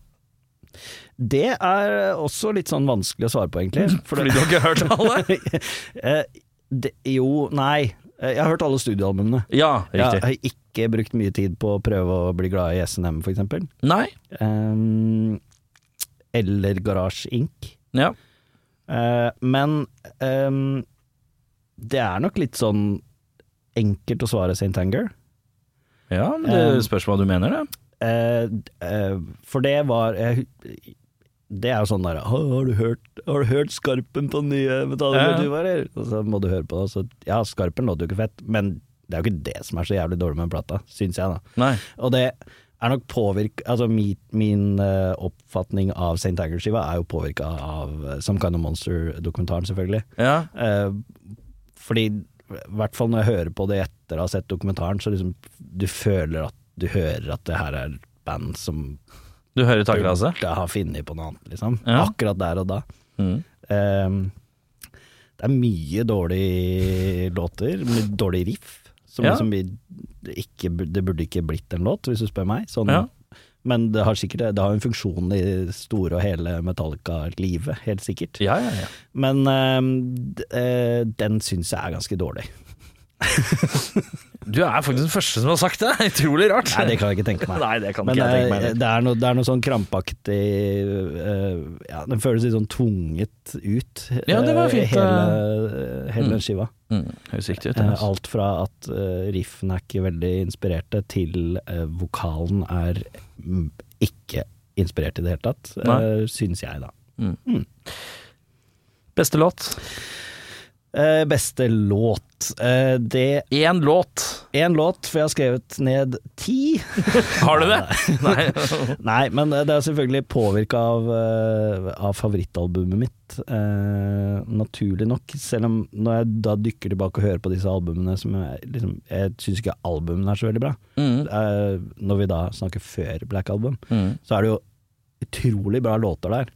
C: Det er også litt sånn vanskelig å svare på, egentlig. For
B: Fordi du har ikke hørt alle?
C: det, Eh, det, jo, nei. Eh, Jeg har hørt alle studioalbumene.
B: Ja,
C: Jeg har ikke brukt mye tid på å prøve å bli glad i SNM, for eksempel.
B: Nei?
C: Ehm, eller Garage Inc.
B: Ja.
C: Eh, men ehm, det er nok litt sånn enkelt å svare St. Anger.
B: ja, men det spørs hva du mener, det.
C: Eh, eh, for det var jeg, hu- Det er jo sånn der «Å, har, du hørt, 'Har du hørt Skarpen på den nye
B: Ja.
C: metallkultur, eller?' Og så må du høre på det, og så Ja, Skarpen låter jo ikke fett, men det er jo ikke det som er så jævlig dårlig med den plata, syns jeg, da.
B: Nei.
C: Og det er nok påvirk... Altså min, min eh, oppfatning av St. Anger-skiva er jo påvirka av eh, Some Kind of Monster-dokumentaren, selvfølgelig.
B: Ja.
C: Eh, fordi, i hvert fall når jeg hører på det etter å ha sett dokumentaren, så liksom du føler at du hører at det her er et band som
B: Du hører taklaset?
C: burde ha funnet på noe annet, liksom.
B: Ja.
C: Akkurat der og da.
B: Mm.
C: Ehm, det er mye dårlige låter, med dårlig riff. Som
B: Ja.
C: liksom vi- det ikke, bu- det burde ikke blitt en låt, hvis du spør meg. Sånn,
B: Ja.
C: Men det har sikkert det har en funksjon i det store og hele Metallica-livet, helt sikkert.
B: Ja, ja, ja.
C: Men ehm, d- eh, den syns jeg er ganske dårlig.
B: Du er faktisk den første som har sagt det. Utrolig rart.
C: Nei, det kan jeg ikke tenke meg.
B: Nei, det kan
C: Men
B: ikke jeg tenke meg.
C: eh,
B: heller.
C: det er, noe, det er noe sånn krampaktig eh, ja, Den føles litt sånn tvunget ut,
B: Ja, det var
C: eh,
B: fint,
C: hele, eh, hele den
B: Mm.
C: skiva.
B: Mm, Høres riktig ut. det,
C: Eh,
B: altså.
C: Alt fra at eh, riffen er ikke veldig inspirerte, til eh, vokalen er mm, ikke inspirert i det hele tatt,
B: Nei.
C: uh, syns jeg, da.
B: Mm. Beste låt?
C: Eh, beste låt låt. Eh, det
B: Én låt.
C: Én låt, for jeg har skrevet ned ti.
B: Har du det? Nei.
C: Nei, men eh, det er selvfølgelig påvirka av, eh, av favorittalbumet mitt. Eh, naturlig nok. Selv om når jeg da dykker tilbake og hører på disse albumene som jeg, liksom, jeg syns ikke albumene er så veldig bra.
B: Mm.
C: Eh, når vi da snakker før Black Album,
B: Mm.
C: så er det jo utrolig bra låter der.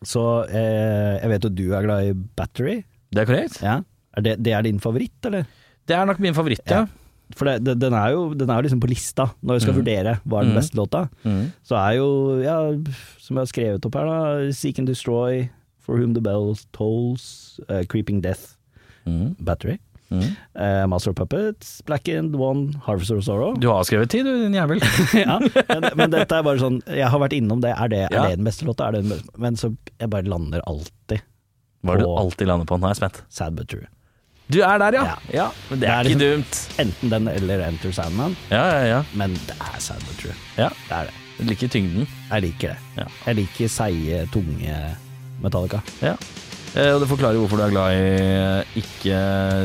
C: Så eh, jeg vet jo du er glad i Battery.
B: Det er korrekt.
C: Ja. Er det, det er din favoritt, eller?
B: Det er nok min favoritt, ja.
C: Ja. For det, det, den, er jo, den er jo liksom på lista når vi skal vurdere hva er den
B: Mm.
C: beste låta.
B: Mm.
C: Så er jo, ja, som jeg har skrevet opp her, da Seek and Destroy, For Whom the Bell Tolls, eh, Creeping Death,
B: Mm.
C: Battery,
B: Mm.
C: eh, Master of Puppets, Black End One, Harvester of Sorrow.
B: Du har skrevet ti, du, din jævel.
C: ja, men, men dette er bare sånn Jeg har vært innom det. Er det,
B: Ja.
C: er det den beste låta? Er det den beste? Men så jeg bare lander alltid
B: Hva er det du
C: på
B: alltid lander på? Nå er jeg spent.
C: Sad But True.
B: Du er der, ja.
C: Ja.
B: ja. Men det er,
C: Det er
B: ikke dumt.
C: Enten den eller Enter Sandman,
B: Ja, ja, ja.
C: men det er Sad But True.
B: ja.
C: Det er det.
B: Jeg liker tyngden.
C: Jeg liker det.
B: Ja.
C: Jeg liker seige, tunge Metallica.
B: Ja. Eh, Og det forklarer hvorfor du er glad i eh, ikke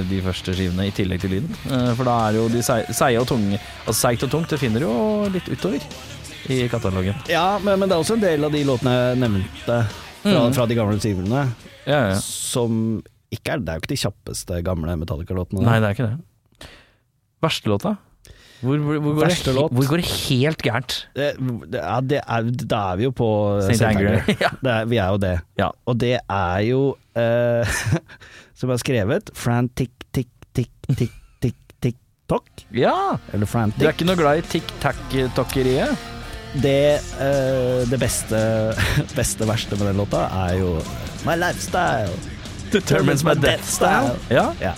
B: de første skivene i tillegg til lyden. Eh, For da er jo de sei- seige og tunge Altså seigt og tungt, det finner du jo litt utover i katalogen.
C: Ja, men, men det er også en del av de låtene jeg nevnte fra,
B: Mm.
C: fra de gamle singerne,
B: Ja, ja.
C: som ikke er Det er jo ikke de kjappeste gamle Metallica-låtene.
B: Nei, det er ikke det. Verste låta? Hvor, hvor, hvor, går, det,
C: Verste
B: he-
C: låt?
B: hvor går det helt gærent?
C: det, det, er, det er, Da er vi jo på eh,
B: St. Anger. Ja.
C: Det er, vi er jo det.
B: Ja.
C: Og det er jo eh, Som jeg har skrevet Frantic tick tick tick tick tick tock.
B: ja! Du
C: Eller
B: er
C: frantic.
B: ikke noe glad i tic-tac-tokkeriet?
C: Det, eh, det beste, beste verste med den låta er jo My lifestyle
B: Determines my death style. Ja.
C: Ja.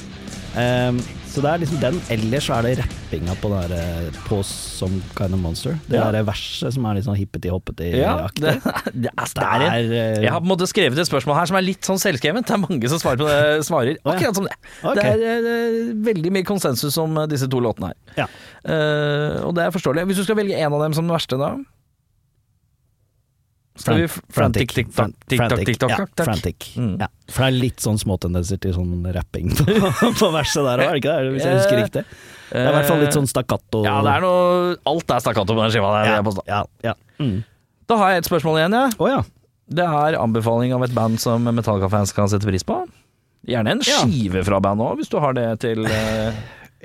C: Ehm, så det er liksom den. Ellers så er det rappinga på, den der, eh, på Some Kind of Monster. Det
B: Ja.
C: der verset som er litt sånn hippeti-hoppeti-aktig.
B: ja. Det, det er, det er en
C: eh,
B: Jeg har på en måte skrevet et spørsmål her som er litt sånn selvskrevet. Det er mange som svarer på det. Svarer
C: ja.
B: akkurat som det.
C: Ok.
B: Det er eh, veldig mye konsensus om eh, disse to låtene her.
C: ja.
B: Eh, og det er forståelig. Hvis du skal velge en av dem som den verste, da? Skal vi f- Frantic TikTok TikTok TikTok?
C: Ja,
B: takk.
C: frantic.
B: Mm.
C: Ja. For det er litt sånn småtendenser til sånn rapping på, på verset der òg, er det ikke det? Hvis jeg husker
B: Eh,
C: riktig. Det er i hvert fall litt sånn stakkato.
B: Ja, det er noe Alt er stakkato på den skiva der. vil jeg påstå.
C: Ja, ja. Mm.
B: Da har jeg et spørsmål igjen, jeg.
C: Å ja.
B: Det er anbefaling av et band som Metallica-fans kan sette pris på. Gjerne en
C: Ja.
B: skive fra bandet òg, hvis du har det til eh,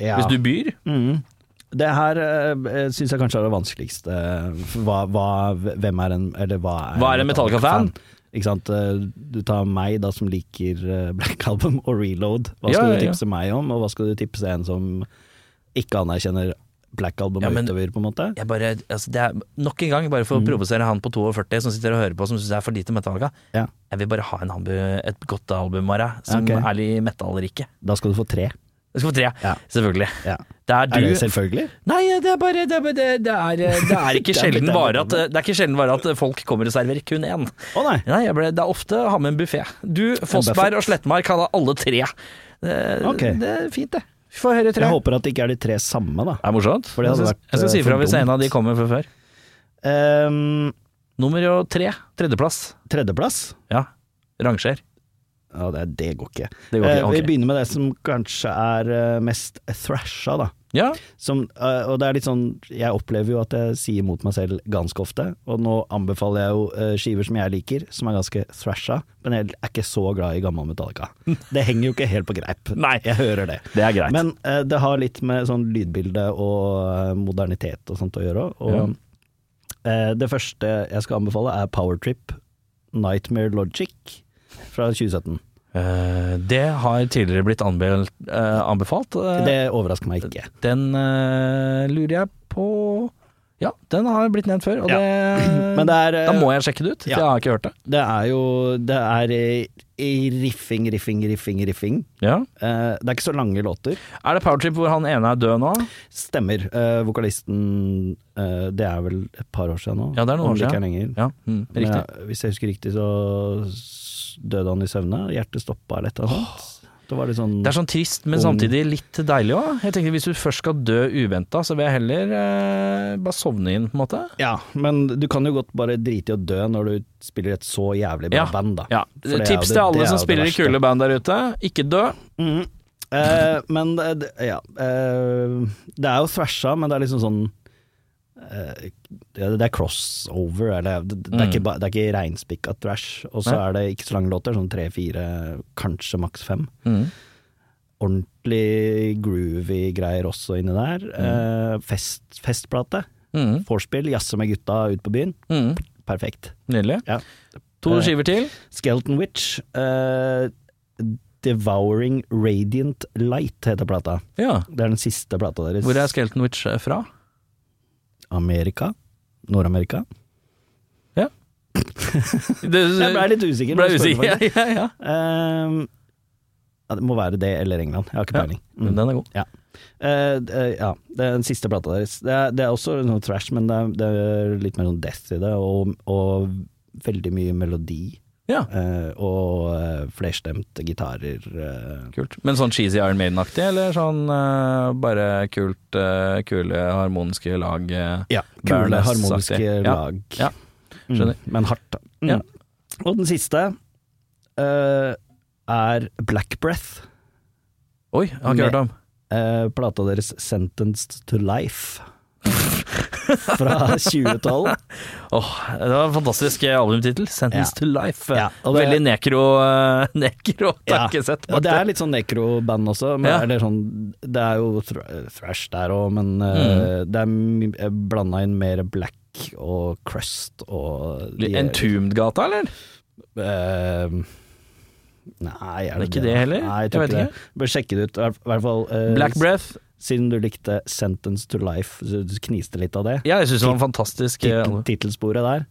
C: ja.
B: Hvis du byr.
C: Mm. Det her uh, syns jeg kanskje er det vanskeligste. eh, Hva, hva, hvem er en Eller hva er,
B: Hva er en Metallica-fan?
C: Ikke sant. Eh, Du tar meg, da, som liker eh, Black Album og Reload. Hva
B: Ja,
C: skal
B: ja,
C: du
B: ja.
C: tipse meg om, og hva skal du tipse en som ikke anerkjenner Black Album
B: Ja, men-
C: utover, på en måte?
B: jeg bare, altså det er Nok en gang, bare for å provosere han på 42 som sitter og hører på, som syns det er for lite Metallica.
C: Ja.
B: Jeg vil bare ha en albu, et godt album av deg, som
C: Ok.
B: er litt metallrike.
C: Da skal du få tre.
B: Jeg skal få tre,
C: Ja.
B: selvfølgelig.
C: Ja.
B: Det er du
C: Er det selvfølgelig?
B: Nei, det er bare Det er, bare, det, det er, det er ikke
C: Det er
B: sjelden
C: litt
B: bare
C: av
B: at Det er ikke sjelden bare at folk kommer og serverer kun én.
C: Å nei!
B: Nei, jeg ble, det er ofte å ha med en buffé. Du, Fossberg og Slettmark kan ha alle tre. Det,
C: Ok.
B: det er fint, det. Vi får høre tre.
C: Jeg håper at det ikke er de tre samme, da.
B: Det er morsomt.
C: det hadde
B: jeg, skal-
C: vært,
B: jeg skal si
C: eh,
B: ifra
C: for
B: hvis en
C: dumt.
B: av de kommer fra før.
C: Ehm,
B: Nummer jo tre. Tredjeplass.
C: tredjeplass?
B: Ja. Ranger.
C: Ja, det, det går ikke.
B: Det går ikke.
C: Eh, Vi
B: ok.
C: begynner med det som kanskje er eh, mest thrasha, da.
B: Ja.
C: Som, eh, og det er litt sånn, jeg opplever jo at jeg sier mot meg selv ganske ofte, og nå anbefaler jeg jo eh, skiver som jeg liker, som er ganske thrasha, men jeg er ikke så glad i gammel Metallica. Det henger jo ikke helt på greip.
B: Nei.
C: Jeg hører det.
B: Det er greit.
C: Men eh, det har litt med sånn lydbilde og eh, modernitet og sånt å gjøre òg. Og eh, det første jeg skal anbefale er Powertrip Nightmare Logic fra 2017.
B: Eh, det har tidligere blitt anbefalt. anbefalt. Eh,
C: Det overrasker meg ikke.
B: Den eh, lurer jeg på Ja, den har blitt nevnt før, og
C: Ja.
B: det,
C: Men det er eh,
B: Da må jeg sjekke det ut, for
C: ja.
B: jeg har ikke hørt det.
C: Det er jo Det er eh, i riffing, riffing, riffing, riffing.
B: Ja.
C: Eh, det er ikke så lange låter.
B: Er det Powertrip hvor han ene er død nå?
C: Stemmer. Eh, vokalisten eh, Det er vel et par år siden nå?
B: Ja, det er noen
C: om
B: år
C: ikke
B: siden.
C: er lenger.
B: Ja, mm,
C: Men
B: riktig.
C: ja, hvis jeg husker riktig, så s- døde han i søvne. Hjertet stoppa eller et eller annet. sånt. Det var litt sånn
B: Det er sånn trist, men
C: Ung.
B: samtidig litt deilig òg. Jeg tenker Hvis du først skal dø uventa, så vil jeg heller eh, bare sovne inn, på en måte.
C: Ja, men du kan jo godt bare drite i å dø når du spiller et så jævlig bra
B: Ja,
C: band, da.
B: Ja.
C: For det er jo
B: Tips
C: det-
B: til alle
C: det er
B: som
C: jo det
B: spiller i
C: verste.
B: kule band der ute, ikke dø.
C: Mhm. Eh, men det, det- ja eh, Det er jo thrasha, men det er liksom sånn eh, det, det er crossover, eller det, det, er ikke, ba- det er ikke reinspikka thrash. Og så
B: Mm. Nei.
C: er det ikke så lange låter, sånn tre-fire, kanskje maks fem.
B: Mm.
C: Ordentlig groovy greier også inni der. Eh, fest, festplate.
B: Mm.
C: Vorspiel, jazze med gutta ut på byen.
B: Mm.
C: Perfekt.
B: Nydelig.
C: Ja.
B: To
C: Eh,
B: skiver til.
C: Skeleton Witch. eh, Devouring Radiant Light heter plata.
B: Ja.
C: Det er den siste plata deres.
B: Hvor er Skelton Witch eh, fra?
C: Amerika? Nord-Amerika?
B: Det,
C: Jeg ble litt usikker.
B: ble
C: når jeg spurte
B: usikker. Ja,
C: faktisk.
B: ja, ja.
C: Ehm, ja, det må være det eller England, jeg har ikke
B: Ja.
C: peiling.
B: Men
C: Mm.
B: Den er god.
C: Eh, d- eh, ja, det er den siste plata deres. Det er, det er også noe trash, men det er, det er litt mer sånn death i det, og, og veldig mye melodi.
B: Ja,
C: eh, og eh, flerstemte gitarer. eh.
B: kult. Men sånn cheesy Iron Maiden-aktig, eller sånn eh, bare kult, eh, kule, harmoniske lag? eh?
C: ja, kule,
B: Baroness-aktig.
C: harmoniske
B: Ja,
C: lag.
B: ja. Skjønner.
C: Mm, men hardt, da. Mm.
B: Ja.
C: Og den siste eh, er Black Breath.
B: Oi, jeg har ikke hørt om.
C: Eh, plata deres 'Sentenced to Life' fra 2012.
B: Åh, det var en fantastisk eh, albumtittel. 'Sentence
C: Ja.
B: to Life'.
C: Ja, og det-
B: Veldig nekro, eh, nekro
C: Ja.
B: takkesett.
C: Ja, det er litt sånn nekroband også. Men
B: Ja.
C: eller sånn, det er jo thr- thrash der òg, men eh,
B: Mm.
C: det er my- eh, blanda inn mer black og crust og de-
B: Entombed-gata, eller?
C: eh, Nei, er det
B: Det er ikke det heller?
C: Nei,
B: Jeg
C: jeg, tror
B: vet
C: ikke det. Bør sjekke det ut. I hvert- hvert fall eh,
B: Black Breath.
C: siden du likte 'Sentence to Life', så du kniste litt av det.
B: Ja, jeg syns det var en fantastisk eh,
C: Titel-
B: album.
C: Tittelsporet der,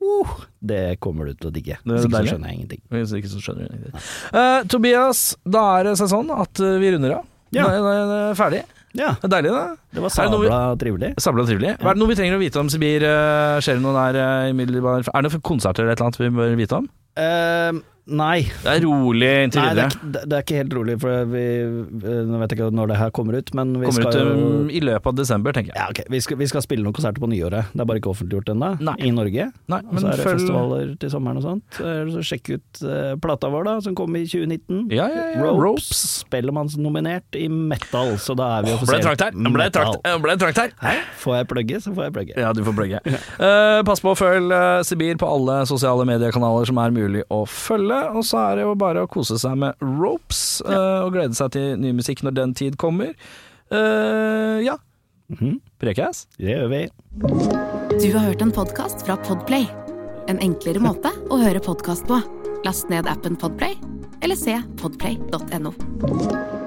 C: uh, det kommer du til å digge.
B: er
C: Hvis ikke så
B: deilig.
C: skjønner jeg ingenting.
B: Hvis ikke så skjønner du ingenting. Eh, Tobias, da er det seg sånn at eh, vi runder av.
C: Ja.
B: Da, da, da er det ferdig.
C: Ja,
B: Det er deilig, det.
C: det var
B: Er det noe vi-
C: sabla trivelig.
B: Sabla trivelig. Hva er det noe vi trenger å vite om Sibir? eh, Skjer det noe der eh, i middelbar Er det noen konserter eller et eller annet vi bør vite om?
C: Eh, nei,
B: Det er rolig inntil
C: nei det,
B: videre.
C: er, ikke- det det er ikke helt rolig, for vi eh, Nå vet jeg ikke når det her kommer ut, men vi
B: Kommer
C: skal
B: ut um,
C: jo
B: i løpet av desember, tenker jeg.
C: ja, ok, vi, skal, vi skal spille noen konserter på nyåret. Det er bare ikke offentliggjort ennå,
B: Nei.
C: i Norge.
B: Nei,
C: Og
B: men
C: så er det
B: følg
C: festivaler til sommeren og sånt. Eh, Så sjekk ut eh, plata vår, da, som kom i 2019.
B: Ja, ja, ja.
C: Ropes.
B: Ropes.
C: Spellemannsnominert i metal, så da er vi
B: Ble det
C: offisielt
B: trakt her? Ble det trakt, eh, ble det trakt her?
C: Hæ? Får jeg plugge, så får jeg plugge.
B: Ja, du får plugge. Eh, pass på å følge eh, Sibir på alle sosiale mediekanaler som er mulig å følge. Og så er det jo bare å kose seg med ropes eh, og glede seg til ny musikk når den tid kommer. Eh, ja. Prekes.
C: Det gjør vi.
A: Du har hørt en podkast fra Podplay. En enklere måte å høre podkast på. Last ned appen Podplay, eller se podplay.no.